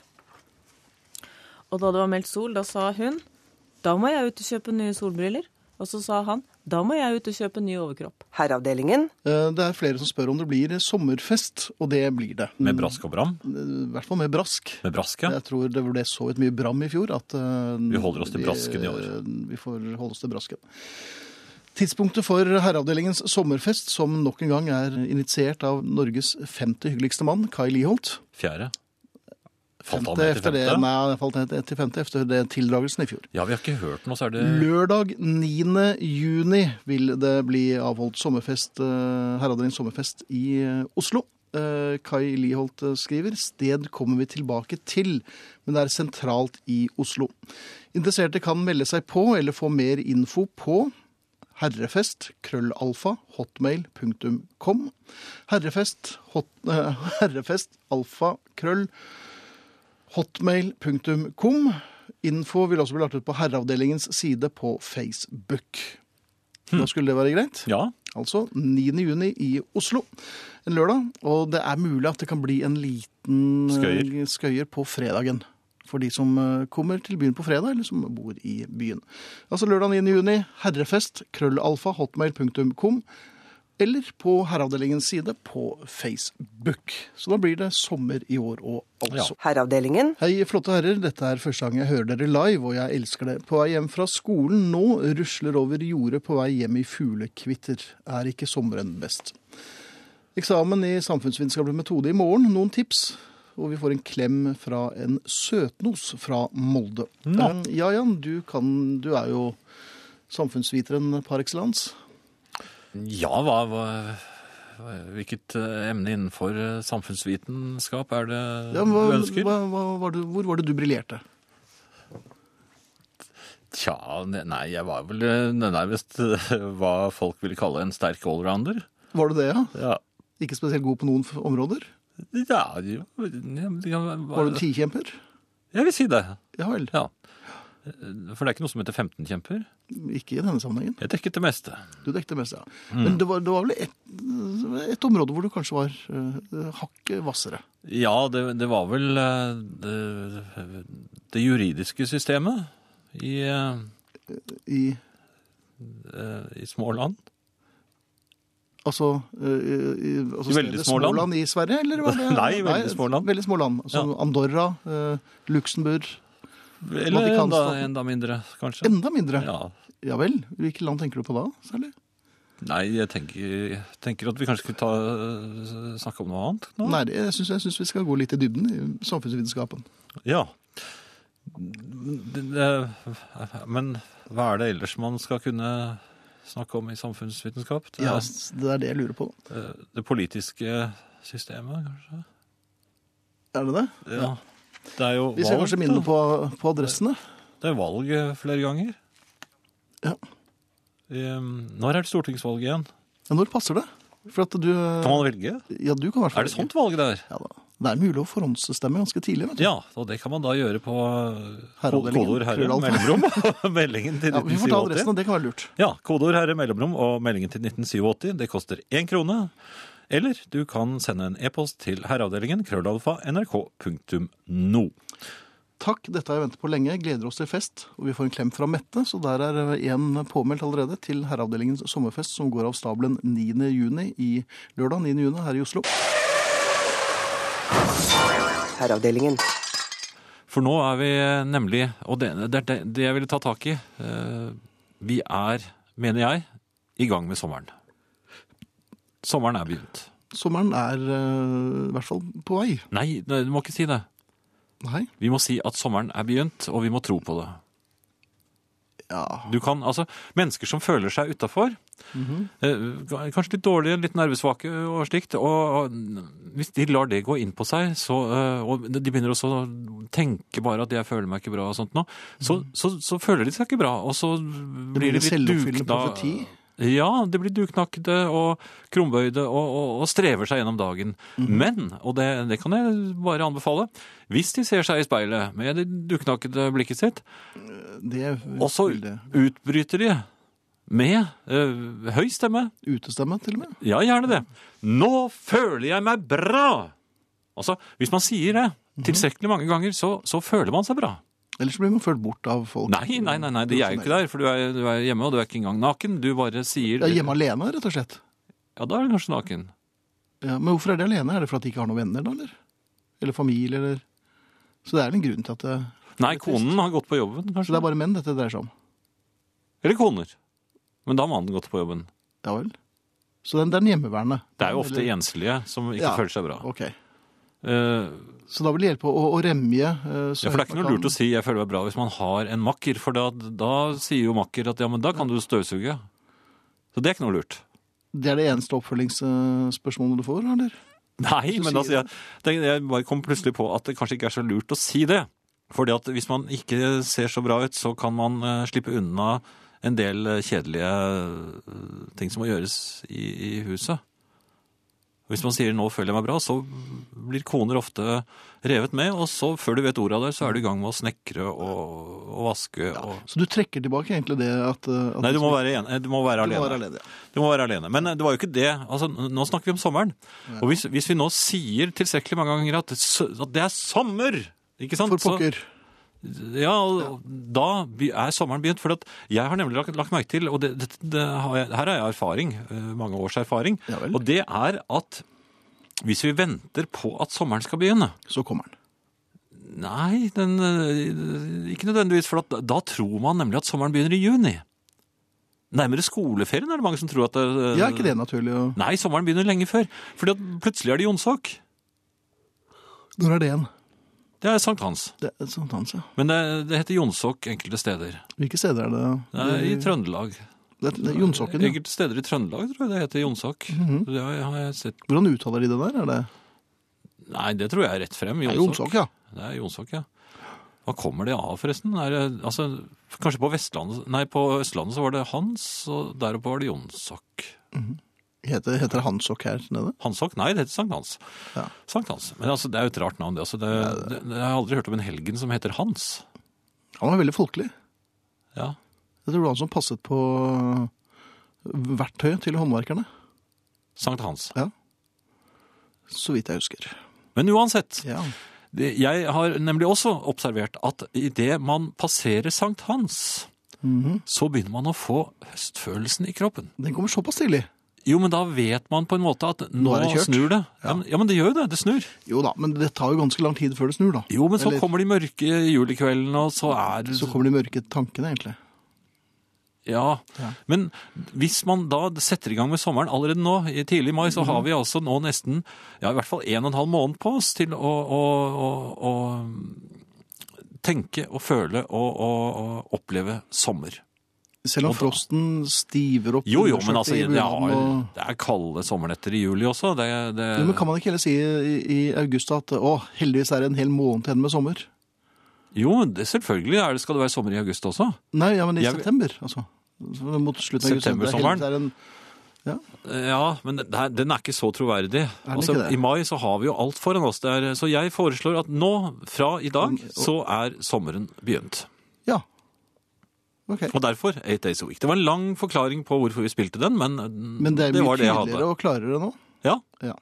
S4: Og da det var meldt sol, da sa hun da må jeg ut og kjøpe nye solbriller. Og så sa han da må jeg ut og kjøpe ny overkropp.
S3: Herreavdelingen.
S2: Eh, Det er flere som spør om det blir sommerfest, og det blir det.
S1: Med brask og bram?
S2: Eh, I hvert fall med brask.
S1: Med brask, ja.
S2: Jeg tror det ble så vidt mye bram i fjor at eh,
S1: Vi holder oss til
S2: vi-
S1: brasken i år.
S2: eh, Vi får holde oss til brasken. Tidspunktet for Herreavdelingens sommerfest, som nok en gang er initiert av Norges femte hyggeligste mann, Kai Liholt.
S1: Fjerde. Falt
S2: Femte
S1: han ned til
S2: etter det,
S1: femte?
S2: nei, han falt ned til femte etter det tildragelsen i fjor.
S1: Ja, vi har ikke hørt noe, så er det
S2: Lørdag 9. juni vil det bli avholdt sommerfest, eh, Herreavdelingens sommerfest i eh, Oslo. Eh, Kai Liholt eh, skriver sted kommer vi tilbake til, men det er sentralt i Oslo. Interesserte kan melde seg på eller få mer info på herrefest, krøllalfa, hotmail.com. Herrefest, hot, eh, herrefest, alfa, krøll, hotmail.com. Info vil også bli lagt ut på herreavdelingens side på Facebook. Da skulle det være greit.
S1: Ja.
S2: Altså 9. juni i Oslo, en lørdag. Og det er mulig at det kan bli en liten eh,
S1: Skøyer.
S2: skøyer på fredagen. For de som eh, kommer til byen på fredag, eller som bor i byen. Altså lørdag 9. juni, herrefest, krøllalfa, hotmail.com. Eller på herreavdelingens side på Facebook. Så da blir det sommer i år òg, altså.
S1: Ja.
S3: Herreavdelingen.
S2: Hei, flotte herrer. Dette er første gang jeg hører dere live, og jeg elsker det. På vei hjem fra skolen nå rusler over jordet på vei hjem i fuglekvitter. Er ikke sommeren best? Eksamen i samfunnsvitenskapelig metode i morgen. Noen tips? Og vi får en klem fra en søtnos fra Molde. Eh, Ja, Jan, du, kan, du er jo samfunnsviteren par excellence.
S1: Ja, hva, hva Hvilket eh, emne innenfor eh, samfunnsvitenskap er det
S2: Ja, men hva,
S1: Eh, du ønsker?
S2: hva, hva, var det, hvor var det du briljerte?
S1: Tja, ne- nei, jeg var vel eh, nærmest eh, hva folk ville kalle en sterk allrounder.
S2: Var det det, ja?
S1: Ja.
S2: Ikke spesielt god på noen f- områder?
S1: Ja, jo, ja, men det kan være-
S2: Var du tikjemper?
S1: Jeg vil si det.
S2: Ja vel.
S1: Ja. Eh, For det er ikke noe som heter 15-kjemper.
S2: Ikke i denne sammenhengen.
S1: Jeg dekket det meste.
S2: Du dekket det meste, ja.
S1: Mm.
S2: Men det var, det var vel et, et område hvor du kanskje var uh, hakket hvassere.
S1: Ja, det, det var vel eh, det, det juridiske systemet i, eh,
S2: I
S1: eh, i små land.
S2: altså, eh, i, altså
S1: I veldig
S2: stedet
S1: små land.
S2: Småland i Sverige, eller var det?
S1: Nei, veldig små land.
S2: Veldig små land. Altså
S1: Ja.
S2: Andorra, eh, Luxembourg.
S1: Eller enda,
S2: Vatikanstaten.
S1: enda mindre, kanskje.
S2: Enda mindre. Ja.
S1: Ja.
S2: vel. Hvilke land tenker du på da, særlig?
S1: Nei, jeg tenker, jeg tenker at vi kanskje skulle ta, eh, snakke om noe annet nå.
S2: Nei, det- jeg syns, jeg syns vi skal gå litt i dybden i samfunnsvitenskapen.
S1: Ja. Det, det, men hva er det ellers man skal kunne snakke om i samfunnsvitenskap? Det,
S2: Ja,
S1: er-
S2: s- det er det jeg lurer på.
S1: Eh, Det politiske systemet, kanskje?
S2: Er det det?
S1: Ja. Det er jo
S2: Vi ser
S1: valg,
S2: kanskje minne
S1: da.
S2: på, på adressene.
S1: Det er valg eh, flere ganger.
S2: Ja.
S1: Ehm, Når er det stortingsvalg igjen?
S2: Ja, når passer det? For at du
S1: Kan man velge?
S2: Ja, du kan i hvert fall
S1: Er det sånn? sånt valg der?
S2: Ja da. Det er mulig å forhåndsstemme ganske tidlig. vet du.
S1: Ja, og det kan man da gjøre på eh, ko-
S2: Herreavdelingen,
S1: kodeord herre
S2: krøllalfa.
S1: mellomrom og meldingen til
S2: Ja, vi får ta
S1: 1987.
S2: adressen, og det kan være lurt.
S1: Ja, kodeord herre mellomrom og meldingen til 1987. Det koster én krone. Eller du kan sende en e-post til herreavdelingen krøllalfa nrk.no.
S2: Takk, dette har jeg ventet på lenge. Gleder oss til fest. Og vi får en klem fra Mette, så der er én påmeldt allerede til Herreavdelingens sommerfest, som går av stabelen 9. juni i lørdag 9. juni her i Oslo.
S3: Herreavdelingen.
S1: For nå er vi eh, nemlig, og det det er det, det jeg ville ta tak i eh, Vi er, mener jeg, i gang med sommeren. Sommeren er begynt.
S2: Sommeren er eh, i hvert fall på vei.
S1: Nei, nei, du må ikke si det.
S2: Nei?
S1: Vi må si at sommeren er begynt, og vi må tro på det.
S2: Ja.
S1: Du kan, altså, Mennesker som føler seg utafor, kanskje litt dårlige, litt nervesvake og slikt, og og hvis de lar det gå inn på seg, så, eh, og de begynner også å tenke bare at 'jeg føler meg ikke bra' og sånt nå, så, så, så føler de seg ikke bra, og så blir de
S2: blir
S1: litt
S2: selvoppfyllende
S1: dukna-
S2: profeti.
S1: Ja, de blir duknakkede og krumbøyde og, og, og strever seg gjennom dagen.
S2: Mhm.
S1: Men, og det, det kan jeg bare anbefale, hvis de ser seg i speilet med det duknakkede blikket sitt,
S2: Det
S1: og så
S2: ville
S1: utbryter de med eh, høy stemme.
S2: utestemme, til og med.
S1: Ja, gjerne det. Nå føler jeg meg bra! Altså, hvis man sier det
S2: Mhm.
S1: tilstrekkelig mange ganger, så, så føler man seg bra.
S2: Ellers blir man ført bort av folk.
S1: Nei, nei, nei, nei det er jo ikke der, for du er, du er hjemme, og du er ikke engang naken. Du bare sier
S2: Ja, hjemme alene, rett og slett.
S1: Ja, da er du kanskje naken.
S2: Ja, men hvorfor er de alene? Er det fordi de ikke har noen venner, da, eller? Eller familie, eller Så det er en grunn til at det
S1: Nei, konen har gått på jobben,
S2: Så det
S1: kanskje.
S2: er bare menn dette dreier seg om.
S1: Eller koner. Men da har mannen gått på jobben.
S2: Ja vel. Så den, den hjemmeværende.
S1: Det er jo ofte
S2: Eller-
S1: enslige som ikke
S2: Ja.
S1: føler seg bra.
S2: Ok.
S1: Eh,
S2: Så da vil det hjelpe å, å remje. eh, så
S1: Ja, for det er
S2: høyt
S1: ikke
S2: man
S1: noe lurt
S2: kan.
S1: å si 'jeg føler meg bra' hvis man har en makker, for da, da sier jo makker at 'ja, men da kan du støvsuge'. Så det er ikke noe lurt.
S2: Det er det eneste oppfølgingsspørsmålet du får, eller?
S1: Nei,
S2: Så
S1: men
S2: sier
S1: altså, jeg, tenk- jeg bare kom plutselig på at det kanskje ikke er så lurt å si det. Fordi at hvis man ikke ser så bra ut, så kan man eh, slippe unna en del eh, kjedelige eh, ting som må gjøres i, i huset. Hvis man sier 'nå føler jeg meg bra', så blir koner ofte revet med. Og så, før du vet ordet av det, så er du i gang med å snekre og, og vaske og
S2: Så du trekker tilbake egentlig det at, eh, at
S1: Nei, du må være, en, du må være
S2: Du må
S1: alene.
S2: være alene, ja.
S1: Du må være alene. Men eh, det var jo ikke det. Altså, n- nå snakker vi om sommeren. Og hvis, hvis vi nå sier tilstrekkelig mange ganger at, s- at det er sommer, ikke sant?
S2: For pokker.
S1: Så, ja, og da be- er sommeren begynt. For at jeg har nemlig lagt, lagt merke til, og det, det, det har jeg, her har jeg erfaring, eh, mange års erfaring,
S2: Ja vel.
S1: og det er at hvis vi venter på at sommeren skal begynne,
S2: Så kommer den.
S1: Nei, den, eh, ikke nødvendigvis, for at, da tror man nemlig at sommeren begynner i juni. Nærmere skoleferien er det mange som tror at det,
S2: Ja, er ikke det naturlig? å-
S1: Nei, sommeren begynner lenge før. Fordi at plutselig er det Jonsok.
S2: Når er det igjen?
S1: Det er sankthans.
S2: Det er sånn dans, ja.
S1: Men det, det heter Jonsok enkelte steder.
S2: Hvilke steder er det?
S1: Det er I Trøndelag.
S2: det, er- det er Jonsokken, ja. Mhm.
S1: Enkelte steder i Trøndelag tror jeg det heter Jonsok. Det har jeg- har jeg sett.
S2: Hvordan uttaler de det der? Er det
S1: Nei, det tror jeg er rett frem.
S2: Det er
S1: Jonsok.
S2: Jonsok, ja.
S1: Det er Jonsok, ja. Hva kommer det av, forresten? Er det, altså, kanskje på Vestlandet Nei, på Østlandet så var det Hans, og der oppe var det Jonsok.
S2: Heter, heter det Hansok her nede?
S1: Hansok? Nei, det heter Sankt Hans.
S2: Ja.
S1: Sankt Hans. Men altså, det er jo et rart navn, det. Altså, det, det, jeg har aldri hørt om en helgen som heter Hans.
S2: Han var veldig folkelig.
S1: Ja.
S2: Jeg tror det var han som passet på eh, verktøyet til håndverkerne,
S1: Sankt Hans.
S2: så vidt jeg husker.
S1: Men uansett,
S2: Ja.
S1: det- jeg har nemlig også observert at idet man passerer Sankt Hans,
S2: Mhm.
S1: så begynner man å få høstfølelsen i kroppen.
S2: Den kommer såpass tidlig.
S1: Jo, men da vet man på en måte at nå,
S2: Nå er det kjørt.
S1: snur det. Ja. men- ja, men det gjør jo det. Det snur.
S2: Jo da, men det tar jo ganske lang tid før det snur, da.
S1: Jo, men så
S2: Eller-
S1: kommer de mørke julekveldene, og så er det
S2: Så kommer de mørke tankene, egentlig.
S1: Ja. Men hvis man da setter i gang med sommeren allerede nå, i tidlig mai,
S2: Mhm.
S1: så har vi altså nå nesten ja, i hvert fall en og en halv måned på oss til å, å, å, å tenke og føle og, og, og oppleve sommer.
S2: Selv om
S1: Og da-
S2: frosten stiver opp
S1: Jo, jo, men
S2: undersøkt
S1: altså,
S2: i
S1: det er,
S2: bunaden og-
S1: det er kalde sommernetter i juli også. Det, det,
S2: Jo, men Kan man ikke heller si i, i august at å, heldigvis er det en hel måned til igjen med sommer?
S1: jo, det, selvfølgelig er det, skal det være sommer i august også.
S2: Nei, ja, men i
S1: Jeg-
S2: september, altså. Mot slutten av august. det er
S1: Septembersommeren?
S2: heldigvis er en-
S1: Ja, men det er- den er ikke så troverdig.
S2: den
S1: Altså,
S2: ikke det?
S1: I mai så har vi jo alt foran oss. Det er, så jeg foreslår at nå, fra i dag, så er sommeren begynt.
S2: Ja. Ok.
S1: Og derfor Eight Days a Week. Det var en lang forklaring på hvorfor vi spilte den, men,
S2: Men det er mye
S1: var det jeg
S2: tydeligere
S1: hadde.
S2: og klarere nå.
S1: Ja.
S2: Ja.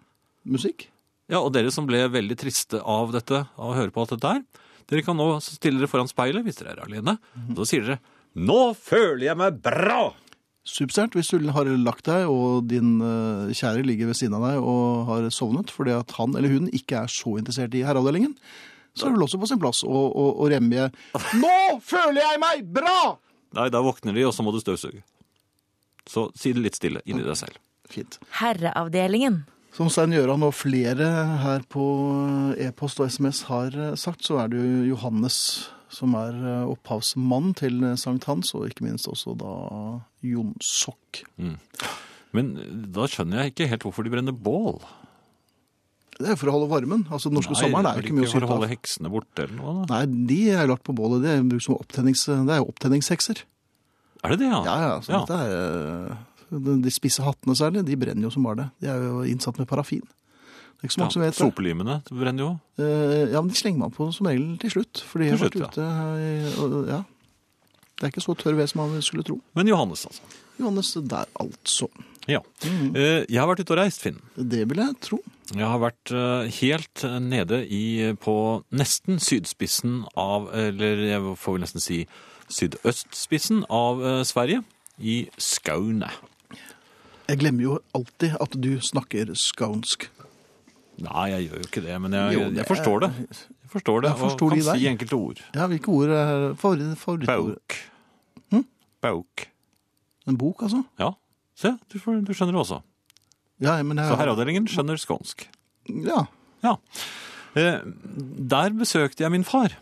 S2: Musikk?
S1: ja, og dere som ble veldig triste av dette, av å høre på alt dette her, dere kan nå stille dere foran speilet hvis dere er alene.
S2: Mhm.
S1: Og så sier dere 'Nå føler jeg meg bra'!
S2: Supersterkt hvis du har lagt deg, og din eh, kjære ligger ved siden av deg og har sovnet fordi at han eller hun ikke er så interessert i herreavdelingen, så er det vel også på sin plass å, å, å remje 'Nå føler jeg meg bra!'
S1: Nei, da våkner de, og så må du støvsuge. Så si det litt stille inni deg selv.
S2: Fint.
S4: Herreavdelingen.
S2: Som Stein Gjøran og flere her på eh, e-post og SMS har eh, sagt, så er det jo Johannes som er eh, opphavsmann til eh, sankthans, og ikke minst også da Jonsok.
S1: Men eh, da skjønner jeg ikke helt hvorfor de brenner bål.
S2: Det er for å holde varmen. Altså, den norske sommeren er jo ikke mye å
S1: for å
S2: syte av.
S1: holde heksene borte eller noe. Da.
S2: Nei, de er lagt på bålet. Det er brukt som opptennings... Det er jo opptenningshekser.
S1: Er det det, ja?
S2: Ja, ja.
S1: Ah.
S2: Så
S1: Ja.
S2: dette er, eh, de- de spisse hattene særlig, de brenner jo som bare det. De er jo innsatt med parafin. Det er ikke så mange som
S1: ja
S2: vet det.
S1: Sopelimene brenner jo.
S2: Eh, Ja, men de slenger man på som regel til slutt. Fordi
S1: Til
S2: jeg har vært
S1: slutt,
S2: ute i- og- Ja. Det er ikke så tørr ved som man skulle tro.
S1: Men Johannes, altså.
S2: Johannes, der altså.
S1: Ja.
S2: Mhm.
S1: Eh, Jeg har vært ute og reist, Finn.
S2: Det vil jeg tro.
S1: Jeg har vært eh, helt nede i, eh, på nesten sydspissen av Eller jeg får vel nesten si sydøstspissen av eh, Sverige. I Skaune.
S2: Jeg glemmer jo alltid at du snakker skaunsk.
S1: Nei, jeg gjør jo ikke det, men jeg,
S2: Jo, det
S1: jeg forstår det. Jeg forstår det,
S2: Jeg forstår
S1: og
S2: de
S1: kan
S2: der.
S1: si enkelte ord.
S2: Ja, hvilke ord er favoritt- favorittordet?
S1: Bauk.
S2: Hm?
S1: Bauk.
S2: En bok, altså?
S1: Ja. Se, du, får, du skjønner det også.
S2: Ja, men jeg,
S1: Så herreavdelingen skjønner skånsk.
S2: Ja.
S1: Ja. Eh, Der besøkte jeg min far.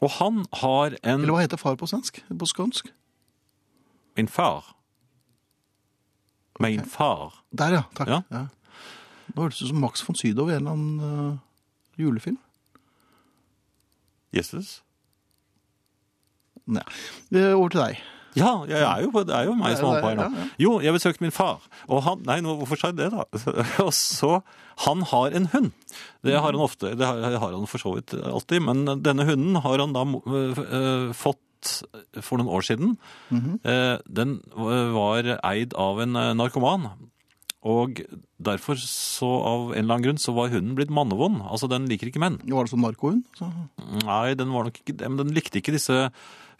S1: Og han har en
S2: Eller hva heter far på svensk? På skånsk?
S1: Min far. Min far.
S2: Der, ja. Takk.
S1: Ja.
S2: Ja. Nå hørtes det ut som Max von Sydow i en eller annen eh, julefilm.
S1: Jesus.
S2: Nei. Eh, Over til deg.
S1: Ja, jeg er jo, det er jo meg
S2: Det er
S1: som er
S2: det,
S1: på her
S2: ja,
S1: nå.
S2: ja.
S1: Jo, jeg besøkte min far. Og han, nei, nå, hvorfor sa jeg det, da? Og så Han har en hund. Det har han ofte. Det har, har han for så vidt alltid. Men denne hunden har han da eh, fått for noen år siden.
S2: Mhm.
S1: Eh, Den var eid av en eh, narkoman. Og derfor, så av en eller annen grunn, så var hunden blitt mannevond. Altså, den liker ikke menn.
S2: Var det sånn narkohund? Så...
S1: Nei, den var nok ikke det, men den likte ikke disse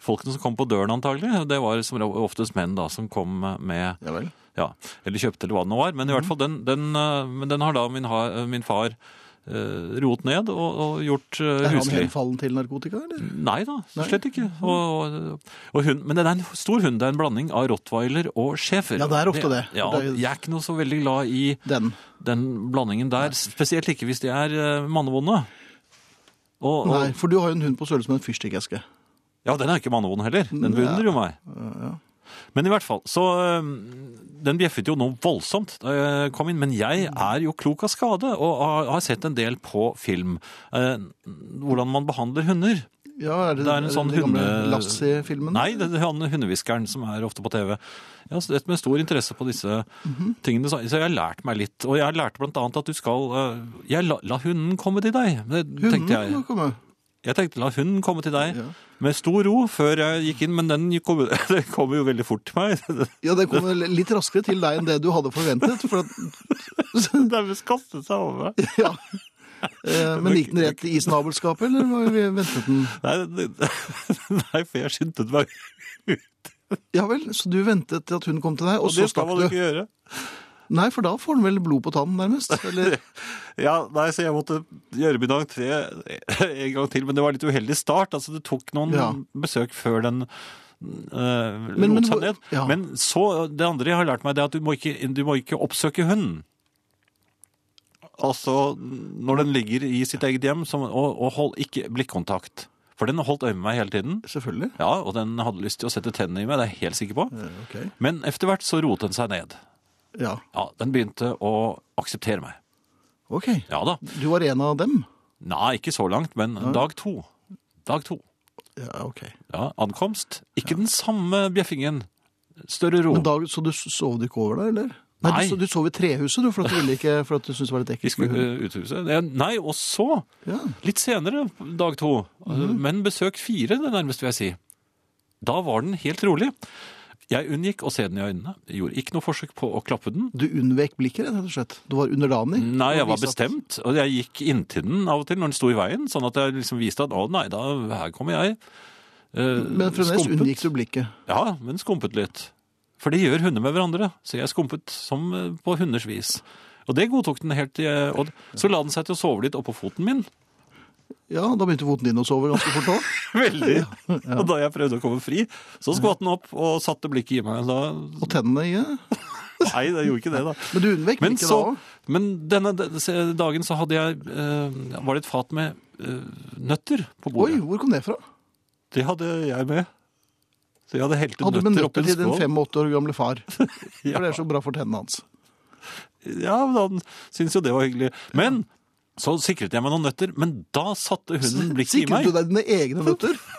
S1: folkene som kom på døren antagelig. Det var som oftest menn da, som kom med,
S2: Ja vel.
S1: ja, eller kjøpte eller hva det nå var. Men i
S2: Mhm.
S1: hvert fall, den, den, eh, men den har da min, ha- min far eh, roet ned og, og gjort eh,
S2: Er han
S1: huslig. Mm.
S2: henfallen til narkotika, eller?
S1: Nei da,
S2: Nei. Mhm.
S1: slett ikke. Og, og, og hun, men det er en stor hund. Det er en blanding av rottweiler og schæfer.
S2: Ja, det er ofte det.
S1: Ja,
S2: Det er-
S1: jeg er ikke noe så veldig glad i
S2: Den.
S1: den blandingen der. Spesielt ikke hvis de er eh, mannevonde. Og, og,
S2: Nei, for du har jo en hund på størrelse med en fyrstikkeske.
S1: Ja, den er ikke mannevond heller. Den beundrer jo meg. Men i hvert fall, så øhm, Den bjeffet jo noe voldsomt da jeg kom inn. Men jeg er jo klok av skade og har- har sett en del på film eh, hvordan man behandler hunder.
S2: Ja, er det,
S1: Det er en sånn
S2: den gamle
S1: hunde-
S2: Lassie-filmen?
S1: Nei, det er han hundehviskeren som er ofte på TV. Jeg har sett med stor interesse på disse
S2: Mhm.
S1: tingene, så så jeg har lært meg litt. Og jeg lærte blant annet at du skal eh, Jeg la, la hunden komme til deg, det
S2: Hunden
S1: tenkte jeg.
S2: må komme.
S1: Jeg tenkte la hunden komme til deg
S2: Ja.
S1: med stor ro før jeg gikk inn, men den kom, den kom jo veldig fort til meg.
S2: Ja, det kommer litt raskere til deg enn det du hadde forventet. For at,
S1: Den nærmest kastet seg over meg.
S2: ja. Eh, Men gikk den rett i snabelskapet, eller var vi ventet den?
S1: Nei, det- nei, for jeg skyndte meg.
S2: Ja vel, så du ventet til at hun kom til deg, og,
S1: Og
S2: så
S1: det skal
S2: stakk
S1: man
S2: du?
S1: ikke gjøre.
S2: Nei, for da får den vel blod på tannen, nærmest? Eller?
S1: Ja, nei, Så jeg måtte gjøre min entré en gang til, men det var litt uheldig start. altså Det tok noen
S2: Ja.
S1: besøk før den øh,
S2: Men- men
S1: lot seg
S2: hvor-
S1: ned.
S2: ja.
S1: Men så, det andre jeg har lært meg, det er at du må ikke, du må ikke oppsøke hunden. Altså, når den ligger i sitt eget hjem, så, og, og hold ikke blikkontakt. For den holdt øye med meg hele tiden.
S2: Selvfølgelig.
S1: Ja, og den hadde lyst til å sette tennene i meg, det er jeg helt sikker på.
S2: Eh, Ok.
S1: Men etter hvert så roet den seg ned.
S2: Ja,
S1: Ja, den begynte å akseptere meg.
S2: ok.
S1: Ja da.
S2: Du var en av dem?
S1: Nei, ikke så langt, men dag to. Dag to.
S2: Ja, ok.
S1: Ja, ankomst. Ikke den samme bjeffingen. Større ro.
S2: Men da, så du sov du ikke over der, eller?
S1: Oh.
S2: Nei.
S1: Nei.
S2: Du, so- du sov i trehuset, du, for at du, ville ikke, for at du syntes det var litt
S1: Vi
S2: ekkelt. med
S1: skulle
S2: hund.
S1: eh, uthuset. Det er- Nei, og så,
S2: Ja.
S1: litt senere, dag
S2: Mhm.
S1: to, eh, men besøk fire, det nærmeste vil jeg si. Da var den helt rolig. Jeg unngikk å se den i øynene. Gjorde ikke noe forsøk på å klappe den.
S2: Du unnvek blikket, rett og slett. Du var underdanig.
S1: Nei, jeg
S2: Og
S1: var
S2: viste at-
S1: bestemt, og jeg gikk inntil den av og til når den sto i veien, sånn at jeg liksom viste at å nei, da, her kommer jeg. Eh,
S2: Men fremdeles
S1: skumpet.
S2: unngikk du blikket.
S1: Ja, men skumpet litt. For det gjør hunder med hverandre, så jeg skumpet som eh, på hunders vis. Og det godtok den helt, eh, og så la den seg til å sove litt oppå foten min.
S2: Ja, da begynte foten din å sove ganske fort òg.
S1: Veldig. Og da jeg prøvde å komme fri, så skvatt den opp og satte blikket i meg. Da,
S2: Og tennene i det.
S1: nei, det gjorde ikke det da.
S2: Men du unnvek
S1: Men,
S2: blikket da
S1: så,
S2: òg.
S1: men denne d- se- dagen så hadde jeg, eh, var det et fat med eh, nøtter på
S2: Oi,
S1: bordet.
S2: hvor kom det fra?
S1: Det hadde jeg med. Så jeg hadde helt
S2: Hadde du med
S1: nøtter opp i
S2: nøtter
S1: en
S2: til din
S1: skål.
S2: 85 år gamle far? For det
S1: Ja.
S2: er så bra for tennene hans.
S1: Ja, men han syntes jo det var hyggelig. Men så sikret jeg meg noen nøtter, men da satte hunden blikket i
S2: Sikret
S1: meg.
S2: du deg dine egne nøtter?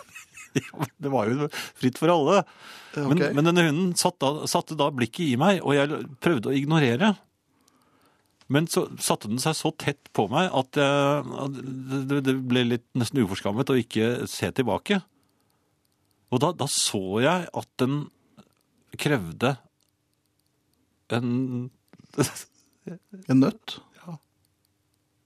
S1: Det var jo fritt for alle. Men,
S2: Ok.
S1: men denne hunden satte da, satte da blikket i meg, og jeg prøvde å ignorere. Men så satte den seg så tett på meg at, jeg, at det, det ble litt nesten uforskammet å ikke se tilbake. Og da, da så jeg at den krevde en
S2: En nøtt?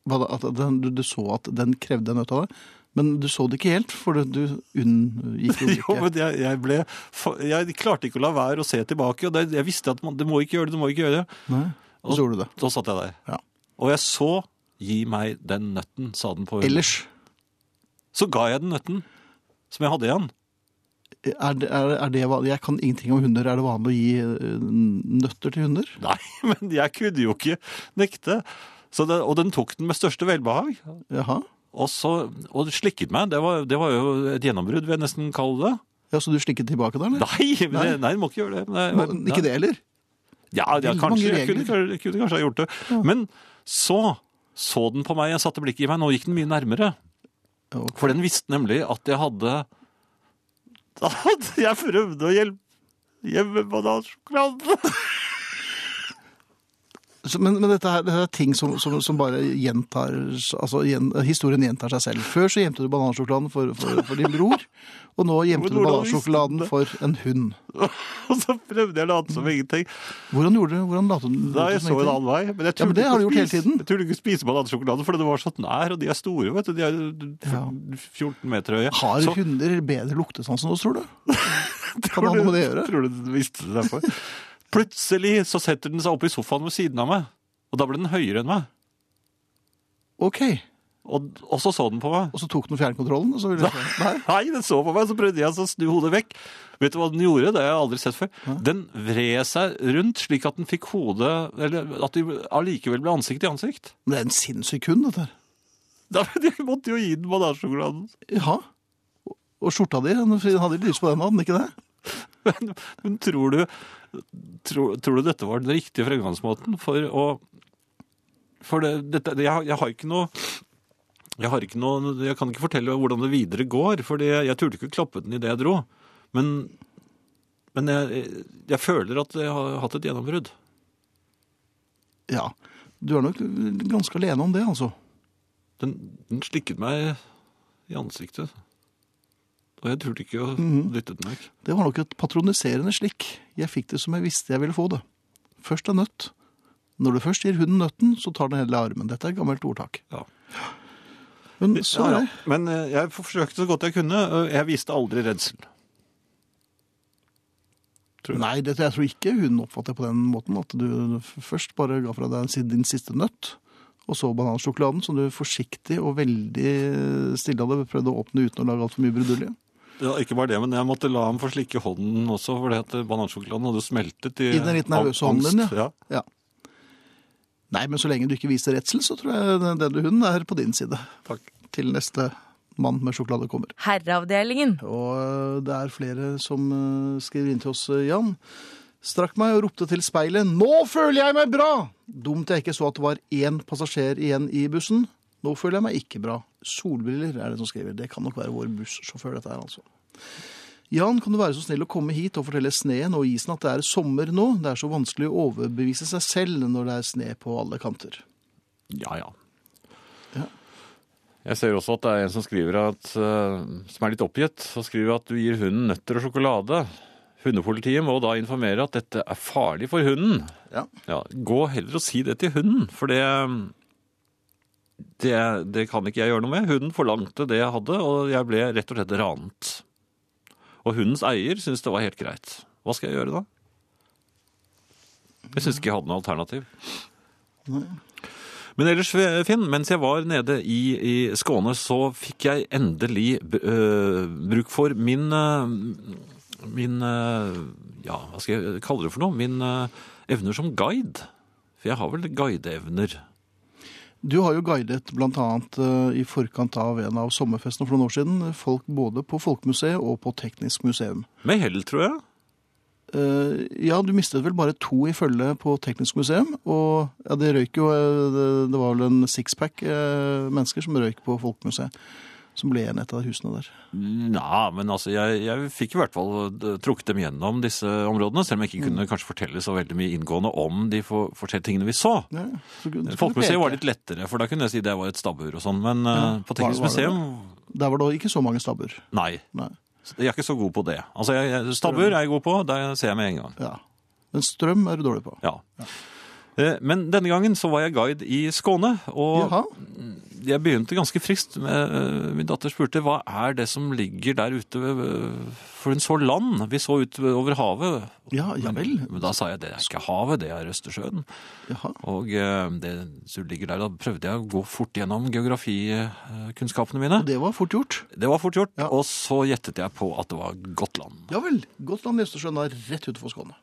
S2: Hva da? At den, du, du så at den krevde en nøtt av deg? Men du så det ikke helt, for du, du unngikk jo
S1: Jo,
S2: blikket.
S1: men jeg, jeg ble fa- Jeg klarte ikke å la være å se tilbake. Og det, jeg visste at man, det må ikke gjøre det, det må ikke gjøre det.
S2: Nei, og så gjorde du det.
S1: Da satt jeg der.
S2: Ja.
S1: Og jeg så 'gi meg den nøtten', sa den på hunden.
S2: Ellers,
S1: Så ga jeg den nøtten som jeg hadde igjen.
S2: er det, er, er det van- Jeg kan ingenting om hunder. Er det vanlig å gi eh, nøtter til hunder?
S1: Nei, men jeg kunne jo ikke nekte. Så det, og den tok den med største velbehag.
S2: Jaha.
S1: Og, så, og slikket meg. Det var, det var jo et gjennombrudd, vil jeg nesten kalle det.
S2: Ja, Så du slikket tilbake der, eller?
S1: Nei, men det, nei, du må ikke gjøre det. Nei,
S2: Må,
S1: nei.
S2: ikke det heller?
S1: Ja, ja
S2: Veldig
S1: kanskje.
S2: mange
S1: Jeg kunne, jeg kunne kanskje ha gjort det. Men så så den på meg, jeg satte blikket i meg. Nå gikk den mye nærmere.
S2: Ja, ok.
S1: For den visste nemlig at jeg hadde At jeg prøvde å hjelpe hjemmebanasjokolade.
S2: Så, men, men dette, her, dette er ting som, som, som bare gjentar altså, gjen, Historien gjentar seg selv. Før så gjemte du banansjokoladen for, for, for din bror, og nå gjemte du
S1: Men hvordan visste du
S2: banansjokoladen
S1: det?
S2: for en hund.
S1: Og så prøvde jeg å late som ingenting.
S2: Hvordan gjorde du Hvordan lot du lot
S1: Da
S2: du
S1: jeg
S2: som
S1: så en
S2: ingenting?
S1: annen vei. Men jeg
S2: Ja, men
S1: turte
S2: det har du
S1: ikke å
S2: gjort hele
S1: spise-
S2: tiden.
S1: Jeg turte ikke å spise banansjokolade, for det var så nær, og de er store, vet du. De er
S2: Ja.
S1: 14 meter høye.
S2: Har
S1: Så-
S2: hunder bedre luktesans enn oss, tror du? Kan det ha noe med det å gjøre?
S1: Tror du den visste det derfor? Plutselig så setter den seg opp i sofaen ved siden av meg, og da ble den høyere enn meg.
S2: Ok.
S1: Og, og så så den på meg.
S2: Og så tok den fjernkontrollen, og så ville jeg Nei.
S1: Nei, den så på meg, så prøvde jeg altså å snu hodet vekk. Vet du hva den gjorde? Det har jeg aldri sett før. Den vred seg rundt slik at den fikk hodet Eller at de allikevel ble ansikt i ansikt.
S2: Men det er en sinnssyk hund, dette her.
S1: Da jeg måtte jo gi den banasjokoladen.
S2: Ja. Og- Og skjorta di, den hadde litt lys på den, hadde den ikke det?
S1: Men, men tror, du, tror, tror du dette var den riktige fremgangsmåten for å For det, dette, jeg, har- jeg har ikke noe jeg, har ikke noe, jeg kan ikke fortelle hvordan det videre går, for jeg turte ikke å klappe den idet jeg dro. Men, men jeg, jeg føler at jeg har hatt et gjennombrudd.
S2: Ja. Du er nok ganske alene om det, altså.
S1: Den, den slikket meg i ansiktet. Og jeg turte ikke å dytte den vekk.
S2: Det var nok et patroniserende slikk. Jeg fikk det som jeg visste jeg ville få det. Først en nøtt. Når du først gir hunden nøtten, så tar den hele armen. Dette er et gammelt ordtak.
S1: Ja.
S2: Men så
S1: Ja,
S2: er
S1: ja.
S2: det.
S1: Men eh, jeg forsøkte så godt jeg kunne. og Jeg viste aldri redsel. Tror jeg.
S2: Nei, det, jeg tror ikke hun oppfatter på den måten at du først bare ga fra deg sin- din siste nøtt, og så banansjokoladen, som du forsiktig og veldig stille hadde prøvd å åpne uten å lage altfor mye brudulje.
S1: Ja, ikke bare det, men jeg måtte la ham få slikke hånden også, fordi at banansjokoladen hadde smeltet i,
S2: I den litt nervøse
S1: ang-
S2: hånden din,
S1: angst.
S2: ja. Ja. Nei, men så lenge du ikke viser redsel, så tror jeg den- denne hunden er på din side.
S1: Takk.
S2: Til neste mann med sjokolade kommer.
S4: Herreavdelingen.
S2: Og det er flere som eh, skriver inn til oss, eh, Jan. Strakk meg og ropte til speilet 'Nå føler jeg meg bra!' Dumt jeg ikke så at det var én passasjer igjen i bussen. Nå føler jeg meg ikke bra. Solbriller er det som skriver. Det kan nok være vår bussjåfør, dette her, altså. Jan, kan du være så snill å komme hit og fortelle sneen og isen at det er sommer nå? Det er så vanskelig å overbevise seg selv når det er sne på alle kanter.
S1: Ja, ja.
S2: Ja.
S5: Jeg ser også at det er en som skriver at, eh, som er litt oppgitt, og skriver at du gir hunden nøtter og sjokolade.
S1: Hundepolitiet må da informere at dette er farlig for hunden.
S2: Ja.
S1: gå heller og si det til hunden, for det, det, det kan ikke jeg gjøre noe med. Hunden forlangte det jeg hadde, og jeg ble rett og slett ranet. Og hundens eier syntes det var helt greit. Hva skal jeg gjøre da? Jeg syns ikke jeg hadde noe alternativ. Men ellers, Finn, mens jeg var nede i, i Skåne, så fikk jeg endelig øh, bruk for min øh, Min øh, Ja, hva skal jeg kalle det for noe? Min øh, evner som guide. For jeg har vel guideevner.
S2: Du har jo guidet bl.a. Uh, i forkant av en av sommerfestene for noen år siden folk både på Folkemuseet og på Teknisk museum.
S1: Med hell, tror jeg.
S2: Eh, ja, du mistet vel bare to i følge på Teknisk museum. Og ja, det røyk jo eh, Det, det var vel en sixpack eh, mennesker som røyk på Folkemuseet. Som ble igjen i et av husene der.
S1: Nei, men altså, jeg, jeg fikk i hvert fall eh, trukket dem gjennom disse områdene, selv om jeg ikke kunne kanskje fortelle så veldig mye inngående om de for, forskjellige tingene vi så.
S2: Ja, ja. Så kunne- så kunne du
S1: Folkemuseet var
S2: peke.
S1: litt lettere, for da kunne jeg si det var et stabbur og sånn, men
S2: Ja.
S1: eh, på
S2: Var-
S1: Teknisk
S2: var det det?
S1: museum,
S2: Der var det ikke så mange stabbur.
S1: nei.
S2: Nei.
S1: Jeg er ikke så god på det. Altså, jeg, jeg, stabbur er jeg god på, der ser jeg med en gang.
S2: Ja. Men strøm er du dårlig på.
S1: Ja. Eh, Men denne gangen så var jeg guide i Skåne, og
S2: Jaha.
S1: jeg begynte ganske frist. med- eh, Min datter spurte hva er det som ligger der ute, ved- for hun så land. Vi så ut over havet.
S2: Ja, ja vel.
S1: Men da sa jeg det er ikke havet, det er Østersjøen.
S2: Jaha.
S1: Og eh, det som ligger der, da prøvde jeg å gå fort gjennom geografikunnskapene mine.
S2: Det var fort gjort.
S1: Det var fort gjort,
S2: Ja.
S1: og så gjettet jeg på at det var Gotland.
S2: Ja vel. Gotland i Østersjøen er rett utenfor Skåne.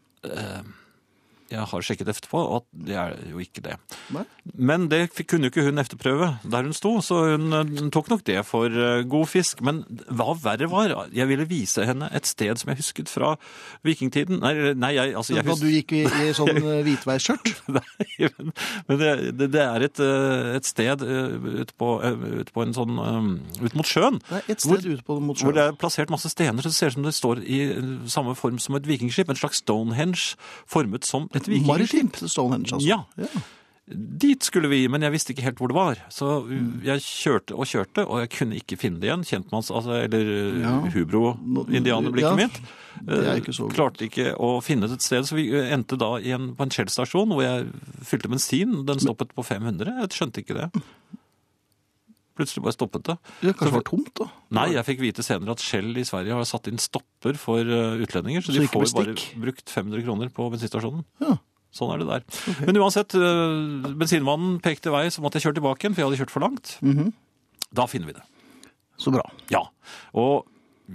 S1: Jeg har sjekket etterpå, og at det er jo ikke det.
S2: Nei?
S1: Men det fikk- kunne jo ikke hun efterprøve der hun sto, så hun eh, tok nok det for eh, god fisk. Men hva verre var, jeg ville vise henne et sted som jeg husket fra vikingtiden. Nei, eller- nei jeg, altså, jeg
S2: Da du
S1: husker
S2: gikk i, i sånn eh, hvitveisskjørt?
S1: Nei, men, men det, det, det er et, eh, et sted eh, ute på, eh, ute på en sånn eh, Ut mot sjøen.
S2: Nei, et
S1: Hvor-
S2: sted ute på mot
S1: Hvor det
S2: sjøen.
S1: er plassert masse stener, så det ser ut som det står i eh, samme form som et vikingskip. En slags Stonehenge formet som et vikingskip.
S2: Maritimt Stonehenge, altså.
S1: Ja. Dit skulle vi, men jeg visste ikke helt hvor det var. Så jeg kjørte og kjørte, og jeg kunne ikke finne det igjen. Kjentmanns, altså, eller
S2: Ja. Nå- ja,
S1: hubro-indianerblikket mitt.
S2: det er ikke så
S1: Eh,
S2: godt.
S1: Klarte ikke å finne det et sted, så vi eh, endte da i en, på en Shell-stasjon hvor jeg fylte bensin. Den stoppet på 500. Jeg skjønte ikke det. Plutselig bare stoppet det.
S2: Ja, kanskje
S1: Så-
S2: det var tomt, da?
S1: Nei, jeg fikk vite senere at Shell i Sverige har satt inn stopper for eh, utlendinger, så,
S2: Så
S1: de
S2: ikke
S1: får bare
S2: bestikk?
S1: brukt 500 kroner på bensinstasjonen.
S2: Ja.
S1: Sånn er det der. Men uansett, eh, bensinmannen pekte vei, så måtte jeg kjøre tilbake igjen, for jeg hadde kjørt for langt. Da finner vi det.
S2: Så bra.
S1: Ja. Og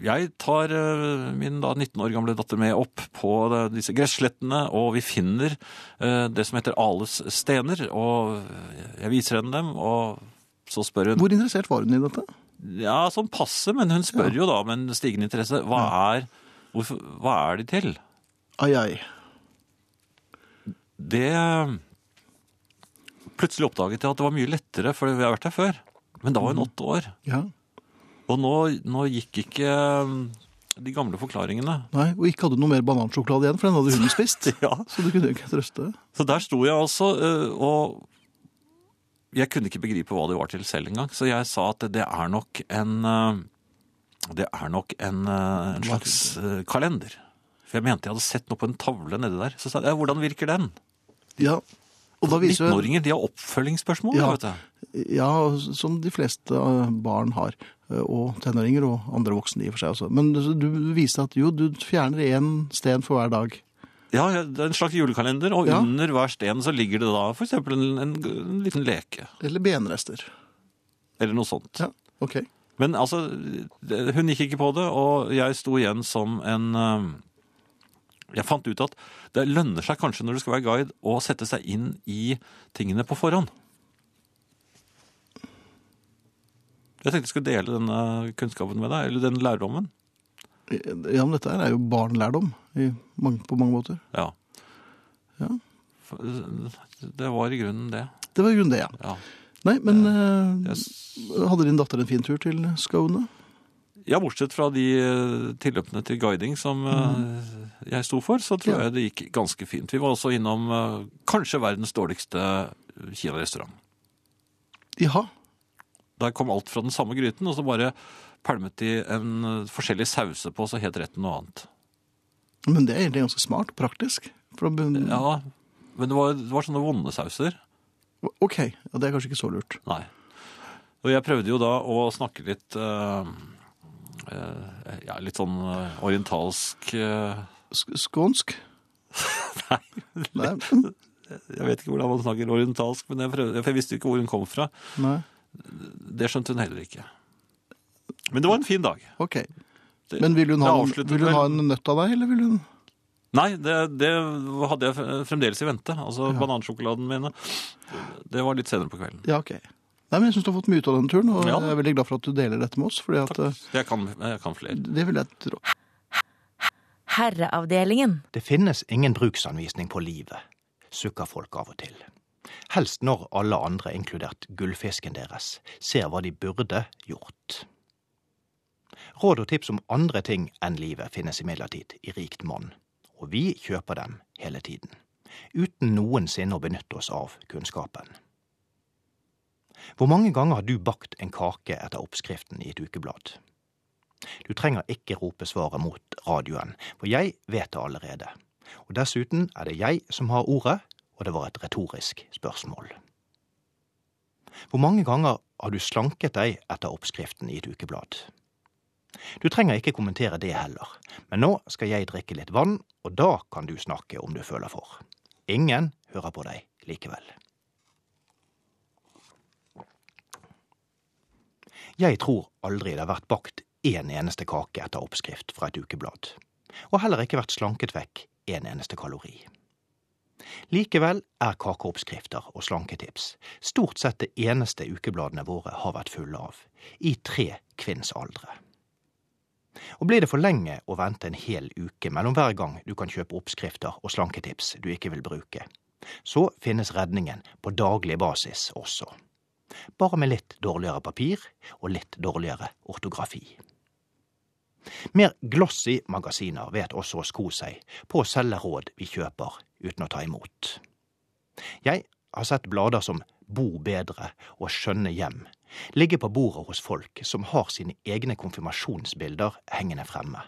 S1: jeg tar eh, min da 19 år gamle datter med opp på eh, disse gresslettene, og vi finner eh, det som heter Ales stener, og eh, jeg viser henne dem, og så spør hun
S2: Hvor interessert var hun i dette?
S1: ja, sånn passe, men hun spør jo da med en stigende interesse hva er, hvorfor, hva er de til?
S2: Ai, ai.
S1: Det eh, Plutselig oppdaget jeg at det var mye lettere, for vi har vært her før. Men da var
S2: Mhm.
S1: hun åtte år.
S2: Ja.
S1: Og nå, nå gikk ikke um, de gamle forklaringene.
S2: Nei, Og ikke hadde du noe mer banansjokolade igjen, for den hadde hunden spist.
S1: Ja.
S2: Så du kunne jo ikke trøste.
S1: Så der sto jeg altså, eh, og jeg kunne ikke begripe hva de var til selv engang. Så jeg sa at det er nok en eh, Det er nok en, eh, en slags eh, kalender. For jeg mente jeg hadde sett noe på en tavle nedi der. Så sa jeg, «Ja, hvordan virker den?
S2: Ja. Og da viser jo
S1: 19-åringer de har oppfølgingsspørsmål.
S2: Ja.
S1: vet du.
S2: Ja, som de fleste eh, barn har. eh, Og tenåringer og andre voksne i og for seg også. Men du viste at jo, du fjerner én sten for hver dag.
S1: Ja, ja, det er En slags julekalender, og
S2: Ja.
S1: under hver sten så ligger det da f.eks. En, en, en liten leke.
S2: Eller benrester.
S1: Eller noe sånt.
S2: Ja, ok.
S1: Men altså, det- hun gikk ikke på det, og jeg sto igjen som en eh, Jeg fant ut at det lønner seg kanskje når du skal være guide, å sette seg inn i tingene på forhånd. Jeg tenkte jeg skulle dele denne kunnskapen med deg, eller den lærdommen.
S2: Ja, men dette her er jo barnelærdom i mange, på mange måter.
S1: Ja.
S2: Ja.
S1: For, eh, Det var i grunnen det.
S2: Det var i grunnen det, ja.
S1: Ja.
S2: Nei, men eh,
S1: Jeg
S2: hadde din datter en fin tur til Skåne?
S1: Ja, bortsett fra de eh, tilløpene til guiding som eh, jeg sto for, så tror
S2: Ja.
S1: jeg det gikk ganske fint. Vi var også innom eh, kanskje verdens dårligste eh, Kina-restaurant.
S2: Jaha.
S1: Der kom alt fra den samme gryten, og så bare pælmet de en eh, forskjellig sause på, så het retten noe annet.
S2: Men det er egentlig ganske smart og praktisk. For da, begyn-
S1: Ja, men det var, det var sånne vonde sauser.
S2: OK, ja, det er kanskje ikke så lurt.
S1: Nei. Og jeg prøvde jo da å snakke litt eh, eh, ja, litt sånn eh, orientalsk eh,
S2: Sk skånsk? Nei.
S1: Jeg vet ikke hvordan man snakker orientalsk, men jeg prøvde, for jeg visste jo ikke hvor hun kom fra.
S2: Nei.
S1: Det skjønte hun heller ikke. Men det var en fin dag.
S2: OK.
S1: Det-
S2: Men vil hun ha,
S1: det
S2: en-
S1: avsluttet
S2: vil hun
S1: vel-
S2: ha en nøtt av deg, eller vil hun
S1: Nei, det, det hadde jeg fremdeles i vente. Altså banansjokoladen mine. Det var litt senere på kvelden.
S2: Ja, OK. Nei, men Jeg syns du har fått mye ut av den turen, og
S1: Ja.
S2: jeg er veldig glad for at du deler dette med oss. fordi at eh,
S1: Jeg kan, jeg kan flere.
S2: det vil jeg tro.
S4: Herreavdelingen.
S6: Det finnes ingen bruksanvisning på livet, sukker folk av og til. Helst når alle andre, inkludert gullfisken deres, ser hva de burde gjort. Råd og tips om andre ting enn livet finnes imidlertid i rikt monn, og vi kjøper dem hele tiden, uten noensinne å benytte oss av kunnskapen. Hvor mange ganger har du bakt en kake etter oppskriften i et ukeblad? Du trenger ikke rope svaret mot radioen, for jeg vet det allerede. Og dessuten er det jeg som har ordet, og det var et retorisk spørsmål. Hvor mange ganger har du slanket deg etter oppskriften i et ukeblad? Du trenger ikke kommentere det heller, men nå skal jeg drikke litt vann, og da kan du snakke om du føler for. Ingen hører på deg likevel. Jeg tror aldri det har vært bakt én eneste kake etter oppskrift fra et ukeblad. Og heller ikke vært slanket vekk én eneste kalori. Likevel er kakeoppskrifter og slanketips stort sett det eneste ukebladene våre har vært fulle av, i tre kvinns aldre. Og blir det for lenge å vente en hel uke mellom hver gang du kan kjøpe oppskrifter og slanketips du ikke vil bruke, så finnes redningen på daglig basis også bare med litt dårligere papir og litt dårligere ortografi. Mer glossy magasiner vet også å sko seg på å selge råd vi kjøper uten å ta imot. Jeg har sett blader som Bo bedre og Skjønne hjem ligge på bordet hos folk som har sine egne konfirmasjonsbilder hengende fremme,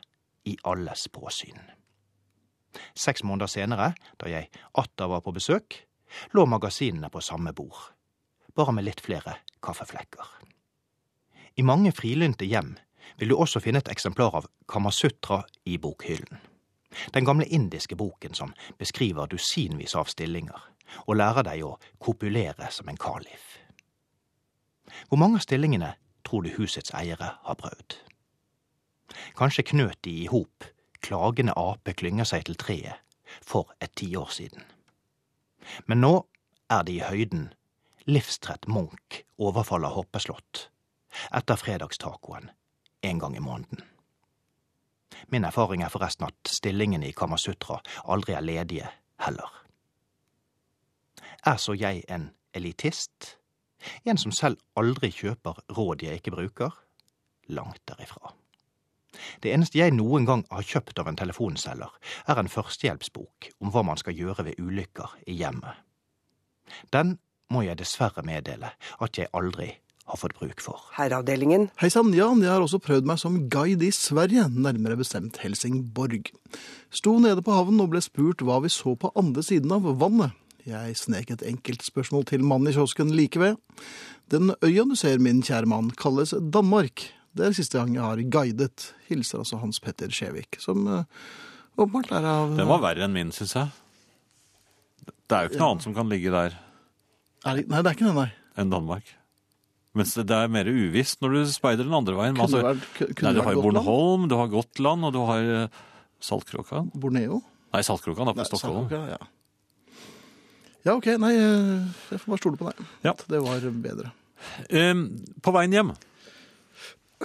S6: i alles påsyn. Seks måneder senere, da jeg atter var på besøk, lå magasinene på samme bord bare med litt flere kaffeflekker. I mange frilynte hjem vil du også finne et eksemplar av Kamasutra i bokhyllen. Den gamle indiske boken som beskriver dusinvis av stillinger, og lærer deg å kopulere som en kalif. Hvor mange av stillingene tror du husets eiere har prøvd? Kanskje knøt de i hop, klagende ape klynger seg til treet, for et tiår siden. Men nå er de i høyden livstrett Munch overfaller Hoppeslott etter fredagstacoen en gang i måneden. Min erfaring er forresten at stillingene i Kamasutra aldri er ledige heller. Er så jeg en elitist? En som selv aldri kjøper råd jeg ikke bruker? Langt derifra. Det eneste jeg noen gang har kjøpt av en telefonselger, er en førstehjelpsbok om hva man skal gjøre ved ulykker i hjemmet. Den må jeg dessverre meddele at jeg aldri har fått bruk for.
S3: Herreavdelingen.
S2: Hei sann, Jan. Jeg har også prøvd meg som guide i Sverige, nærmere bestemt Helsingborg. Sto nede på havnen og ble spurt hva vi så på andre siden av vannet. Jeg snek et enkelt spørsmål til mannen i kiosken like ved. Den øya du ser, min kjære mann, kalles Danmark. Det er siste gang jeg har guidet. Hilser altså Hans Petter Skjevik, som eh, åpenbart er av
S1: Den var verre enn min, syns jeg. Det er jo ikke noe annet som kan ligge der
S2: er, det- Nei, det er ikke det, nei.
S1: enn Danmark. Mens det det er mer uvisst når du speider den andre veien.
S2: Kunne
S1: Altså,
S2: vært, ku- kunne
S1: nei, du
S2: vært
S1: har jo
S2: Gotland.
S1: Bornholm, du har Gotland, og du har eh, Saltkråkan.
S2: Borneo?
S1: Nei, Saltkråkan er
S2: Nei,
S1: på Stockholm.
S2: Sandkroka, ja. ja, OK. Nei, eh, jeg får bare stole på deg.
S1: Ja.
S2: At Det var bedre.
S1: Eh, på veien hjem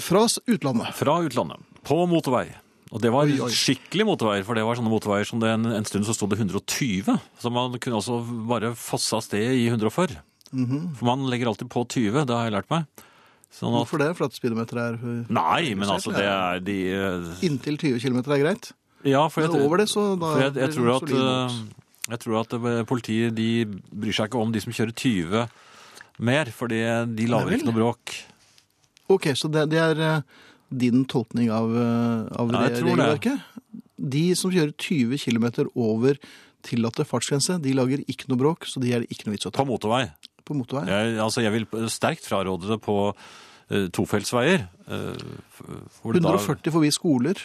S2: Fra s- utlandet.
S1: fra utlandet, på motorvei. Og det var
S2: Oi, oi.
S1: skikkelig motorveier, for det var sånne motorveier som det en, en stund så stod det 120. Så man kunne også bare fosse av sted i 140.
S2: Mhm.
S1: For man legger alltid på 20, det har jeg lært meg. Sånn at,
S2: Hvorfor det? For at speedometeret er eh,
S1: nei, men altså, det er de eh,
S2: inntil 20 km er greit?
S1: Ja, for jeg,
S2: Men over det, så da
S1: for jeg, jeg,
S2: blir det
S1: tror
S2: en
S1: at,
S2: solid
S1: eh,
S2: bot.
S1: jeg tror at eh, politiet de bryr seg ikke om de som kjører 20 mer, fordi de lager
S2: vel.
S1: ikke noe bråk.
S2: OK, så det, det er eh, din tolkning av, eh, av
S1: Ja, jeg
S2: re-
S1: tror det.
S2: regelverket? De som kjører 20 km over tillatte fartsgrense, de lager ikke noe bråk, så de er det ikke noe vits å ta
S1: På motorvei.
S2: på motorvei.
S1: Jeg, altså, jeg vil sterkt fraråde det på eh, tofeltsveier. eh, f- hvor det da-
S2: 140 forbi skoler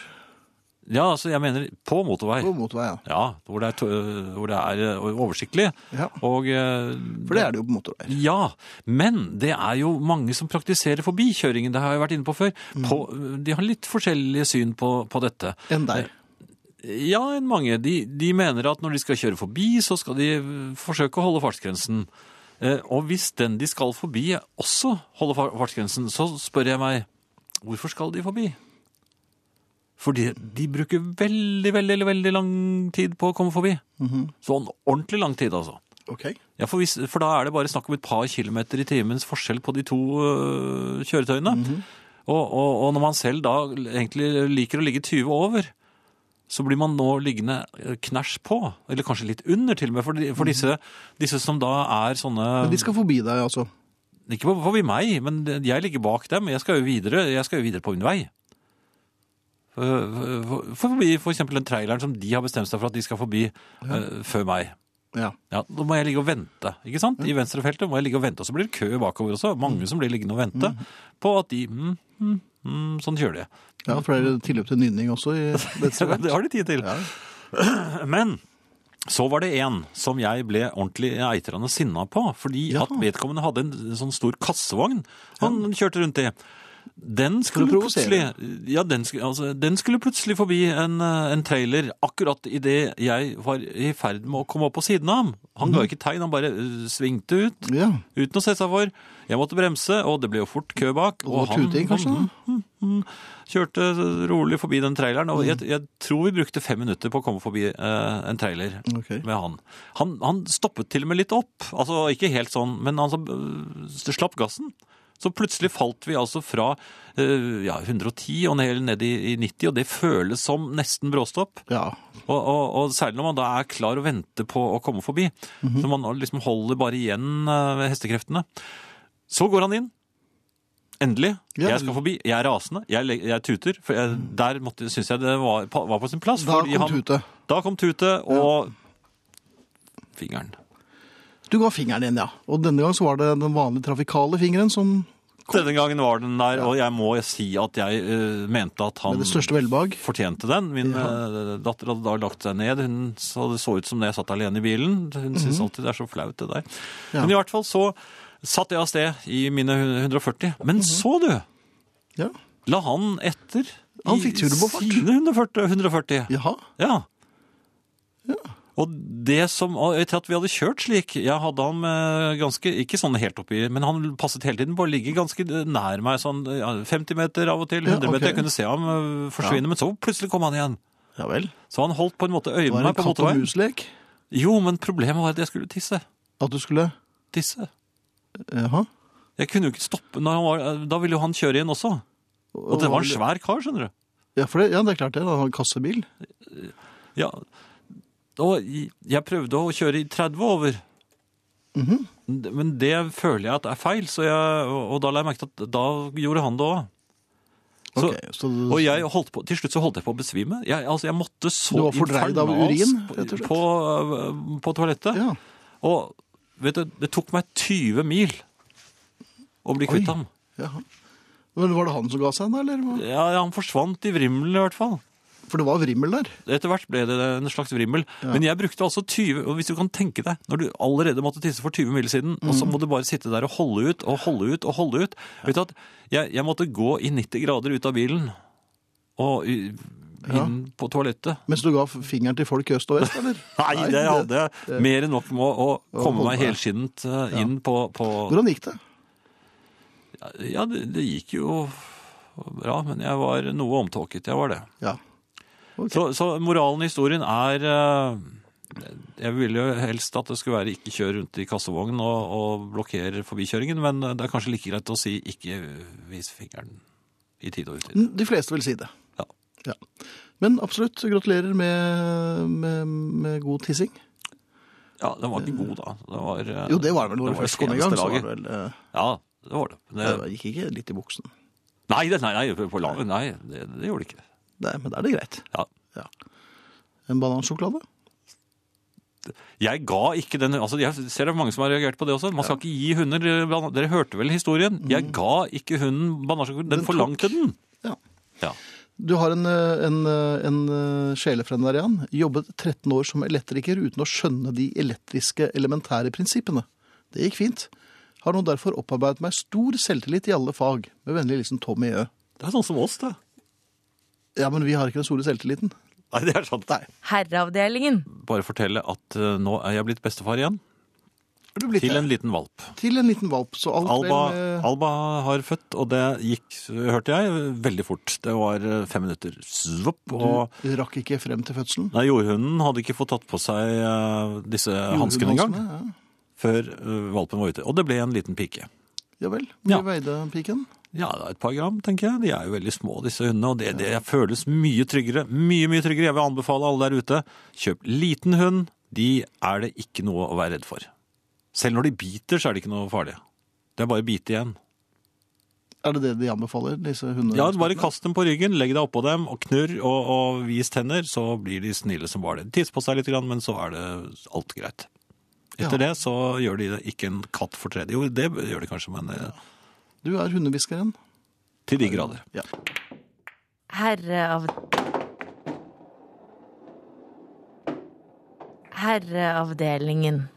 S1: Ja, altså, jeg mener på motorvei.
S2: på motorvei, ja.
S1: Ja, hvor det er, to- eh, hvor det er eh, oversiktlig.
S2: ja.
S1: Og eh,
S2: For det er det jo på motorveier.
S1: Ja, men det er jo mange som praktiserer forbikjøringen, det har jeg vært inne på før. På, de har litt forskjellige syn på, på dette.
S2: Enn der.
S1: Ja, enn mange. De, de mener at når de skal kjøre forbi, så skal de eh, forsøke å holde fartsgrensen. Eh, Og hvis den de skal forbi også holder far- fartsgrensen, så spør jeg meg, hvorfor skal de forbi? Fordi de bruker veldig, veldig, veldig lang tid på å komme forbi. Sånn ordentlig lang tid, altså.
S2: Ok.
S1: Ja, for, hvis, for da er det bare snakk om et par kilometer i timens forskjell på de to øh, kjøretøyene.
S2: Mhm.
S1: og, og, og når man selv da egentlig liker å ligge 20 over, så blir man nå liggende øh, knæsj på. Eller kanskje litt under til og med, for, de, for disse, disse som da er sånne
S2: Mhm. Men de skal forbi deg, altså.
S1: Ikke på- forbi meg, men jeg ligger bak dem. Jeg skal jo videre, jeg skal jo videre på min vei. Øh, For, for, forbi for eksempel den traileren som de har bestemt seg for at de skal forbi øh, før meg.
S2: Ja.
S1: Ja, Da må jeg ligge og vente. ikke sant? I venstrefeltet må jeg ligge og vente, og så blir det kø bakover også. Mange som blir liggende og vente på at de mm, mm, mm, Sånn kjører de.
S2: ja, for det er tilløp til nynning også i dette.
S1: Det har de tid til. Men så var det en som jeg ble ordentlig eitrende sinna på, fordi
S2: Ja.
S1: at vedkommende hadde en sånn stor kassevogn han kjørte rundt i. Den skulle, plutselig,
S2: provosere.
S1: ja, den, skulle, altså, den skulle plutselig forbi en, eh, en trailer akkurat idet jeg var i ferd med å komme opp på siden av ham. Han ga ikke tegn, han bare eh, svingte ut.
S2: Ja.
S1: Mm. Uten å se seg for. Jeg måtte bremse, og det ble jo fort kø bak.
S2: Og tuting, kanskje?
S1: han, mm, mm, kjørte rolig forbi den traileren. Og
S2: Mm.
S1: jeg, jeg tror vi brukte fem minutter på å komme forbi eh, en trailer
S2: Ok.
S1: med han. han. Han stoppet til og med litt opp. Altså ikke helt sånn, men han så- øh, slapp gassen. Så plutselig falt vi altså fra øh, ja, 110 og ned, ned i, i 90, og det føles som nesten bråstopp.
S2: ja.
S1: Og, og, og særlig når man da er klar og venter på å komme forbi.
S2: Mhm.
S1: Så man liksom holder bare igjen eh, hestekreftene. Så går han inn. Endelig.
S2: Ja. Mhm.
S1: Jeg skal forbi. Jeg er rasende. Jeg, le- jeg tuter. For jeg, der måtte- syns jeg det var, pa- var på sin plass.
S2: Da
S1: fordi
S2: kom
S1: han-
S2: tute.
S1: Da kom tute og fingeren.
S2: Du ga fingeren igjen, ja. Og denne gang så var det den vanlige trafikale fingeren som
S1: Denne gangen var den der, og jeg må si at jeg eh, mente at han
S2: med det største velbehag.
S1: fortjente den. Min eh, datter hadde da lagt seg ned. Hun så det så ut som det jeg satt alene i bilen. Hun syns alltid det er så flaut, det der.
S2: Mhm. Ja.
S1: Men i hvert fall så satt jeg av sted i mine 140. Men
S2: Mhm.
S1: så, du,
S2: Ja.
S1: la han etter
S2: Han
S1: i
S2: fikk turbofart.
S1: sine 140. 140.
S2: Jaha.
S1: Ja. Og det som, og etter at vi hadde kjørt slik, jeg hadde ham eh, ganske, ikke sånn helt oppi, men han passet hele tiden på å ligge ganske nær meg, sånn ja, 50 meter av og til,
S2: Ja,
S1: 100 meter,
S2: ok.
S1: jeg kunne se ham eh, forsvinne, men så plutselig kom han igjen.
S2: Ja vel.
S1: Så han holdt på en måte øye
S2: Det
S1: med
S2: var
S1: meg
S2: en
S1: på
S2: katt og
S1: motorveien.
S2: mus-lek.
S1: Jo, men problemet var at jeg skulle tisse.
S2: At du skulle
S1: Tisse.
S2: Jaha.
S1: Jeg kunne jo ikke stoppe, når han var, da ville jo han kjøre igjen også. Og det var en svær kar, skjønner du.
S2: Ja, for det, ja, det er klart det. Han har en kassebil.
S1: Ja. Og jeg prøvde å kjøre i 30 over.
S2: Mhm.
S1: Men det føler jeg at er feil, så jeg, og da la jeg merke til at da gjorde han det òg. Så-
S2: Ok, så, du-
S1: Og jeg holdt på, til slutt så holdt jeg på å besvime. Jeg, altså, jeg måtte
S2: Du
S1: så
S2: var fordreid av
S1: infernalsk
S2: urin,
S1: på-
S2: rett og slett.
S1: på, øh, på toalettet.
S2: ja.
S1: Og vet du, det tok meg 20 mil å bli kvitt
S2: Oi.
S1: ham.
S2: Jaha. Men var det han som ga seg, da? Eller? hva?
S1: Ja, ja, han forsvant i vrimmelen i hvert fall.
S2: For det var vrimmel der.
S1: Etter hvert ble det en slags vrimmel. Men jeg brukte altså 20 Og hvis du kan tenke deg, når du allerede måtte tisse for 20 mil siden, og så må du bare sitte der og holde ut og holde ut og holde ut Vet du at jeg, jeg måtte gå i 90 grader ut av bilen og i,
S2: Ja.
S1: inn på toalettet.
S2: Mens du ga f- fingeren til folk i øst og vest, eller?
S1: Nei, det hadde jeg mer enn nok med å, å komme
S2: holde
S1: meg
S2: deg.
S1: helskinnet eh, inn på, på
S2: Hvordan gikk det?
S1: Ja, det, det gikk jo bra, men jeg var noe omtåket. Jeg var det.
S2: Ja.
S1: Så, så moralen i historien er eh, Jeg ville jo helst at det skulle være ikke kjør rundt i kassevogn og, og blokkere forbikjøringen, men det er kanskje like greit å si ikke vis fingeren i tide og utide.
S2: Mm, De fleste vil si det.
S1: Ja.
S2: Ja. Men absolutt, gratulerer med, med, med god tissing.
S1: Ja, den var ikke god, da. Det var, eh,
S2: Jo, det var det vel når
S1: det
S2: du først kom i gang.
S1: seneste
S2: Så var det
S1: laget.
S2: vel, eh,
S1: Ja, det var det. Men
S2: det
S1: det
S2: gikk ikke litt i buksen.
S1: nei, det, nei, nei, på laven. Nei, det, det gjorde det ikke.
S2: Nei, men da er det greit.
S1: Ja.
S2: Ja. en banansjokolade.
S1: Jeg ga ikke den altså Jeg ser det er mange som har reagert på det også. Man skal ikke gi hunder eh, banan... Dere hørte vel historien? Jeg ga ikke hunden banansjokolade. Mm. Den,
S2: Den
S1: forlangte den.
S2: Ja.
S1: Ja.
S2: Du har en, eh, en, eh, en eh, sjelefrend der igjen. Jobbet 13 år som elektriker uten å skjønne de elektriske elementære prinsippene. Det gikk fint. Har nå derfor opparbeidet meg stor selvtillit i alle fag. Med vennlig hilsen Tommy Ø.
S1: Det er sånn som oss, det.
S2: Ja, men vi har ikke den store selvtilliten.
S1: Nei, det er sant.
S4: Herreavdelingen.
S1: Bare fortelle at eh, nå er jeg blitt bestefar igjen.
S2: Har du blitt
S1: Til
S2: det?
S1: en liten valp.
S2: Til en liten valp. Så alt
S1: Alba,
S2: vel eh,
S1: Alba har født, og det gikk, hørte jeg, veldig fort. Det var eh, fem minutter. Svopp, og
S2: Du rakk ikke frem til fødselen.
S1: Nei, jordhunden hadde ikke fått tatt på seg eh, disse hanskene engang
S2: Ja.
S1: før eh, valpen var ute. Og det ble en liten pike.
S2: ja vel. Hvor
S1: Ja.
S2: mye veide piken?
S1: Ja, det er et par gram, tenker jeg. De er jo veldig små, disse hundene, og det, det føles mye tryggere. Mye, mye tryggere. Jeg vil anbefale alle der ute, kjøp liten hund. De er det ikke noe å være redd for. Selv når de biter, så er det ikke noe farlig. Det er bare å bite igjen.
S2: Er det det de anbefaler, disse hundene?
S1: Ja, bare kast dem på ryggen, legg deg oppå dem og knurr og, og vis tenner, så blir de snille som bare det. Tiss på seg litt, grann, men så er det alt greit. Etter
S2: Ja.
S1: det så gjør de det ikke en katt for tredje. Jo, det gjør de kanskje, men eh,
S2: Du er hundehviskeren.
S1: til de grader.
S2: Ja.
S4: Herreav... Herreavdelingen.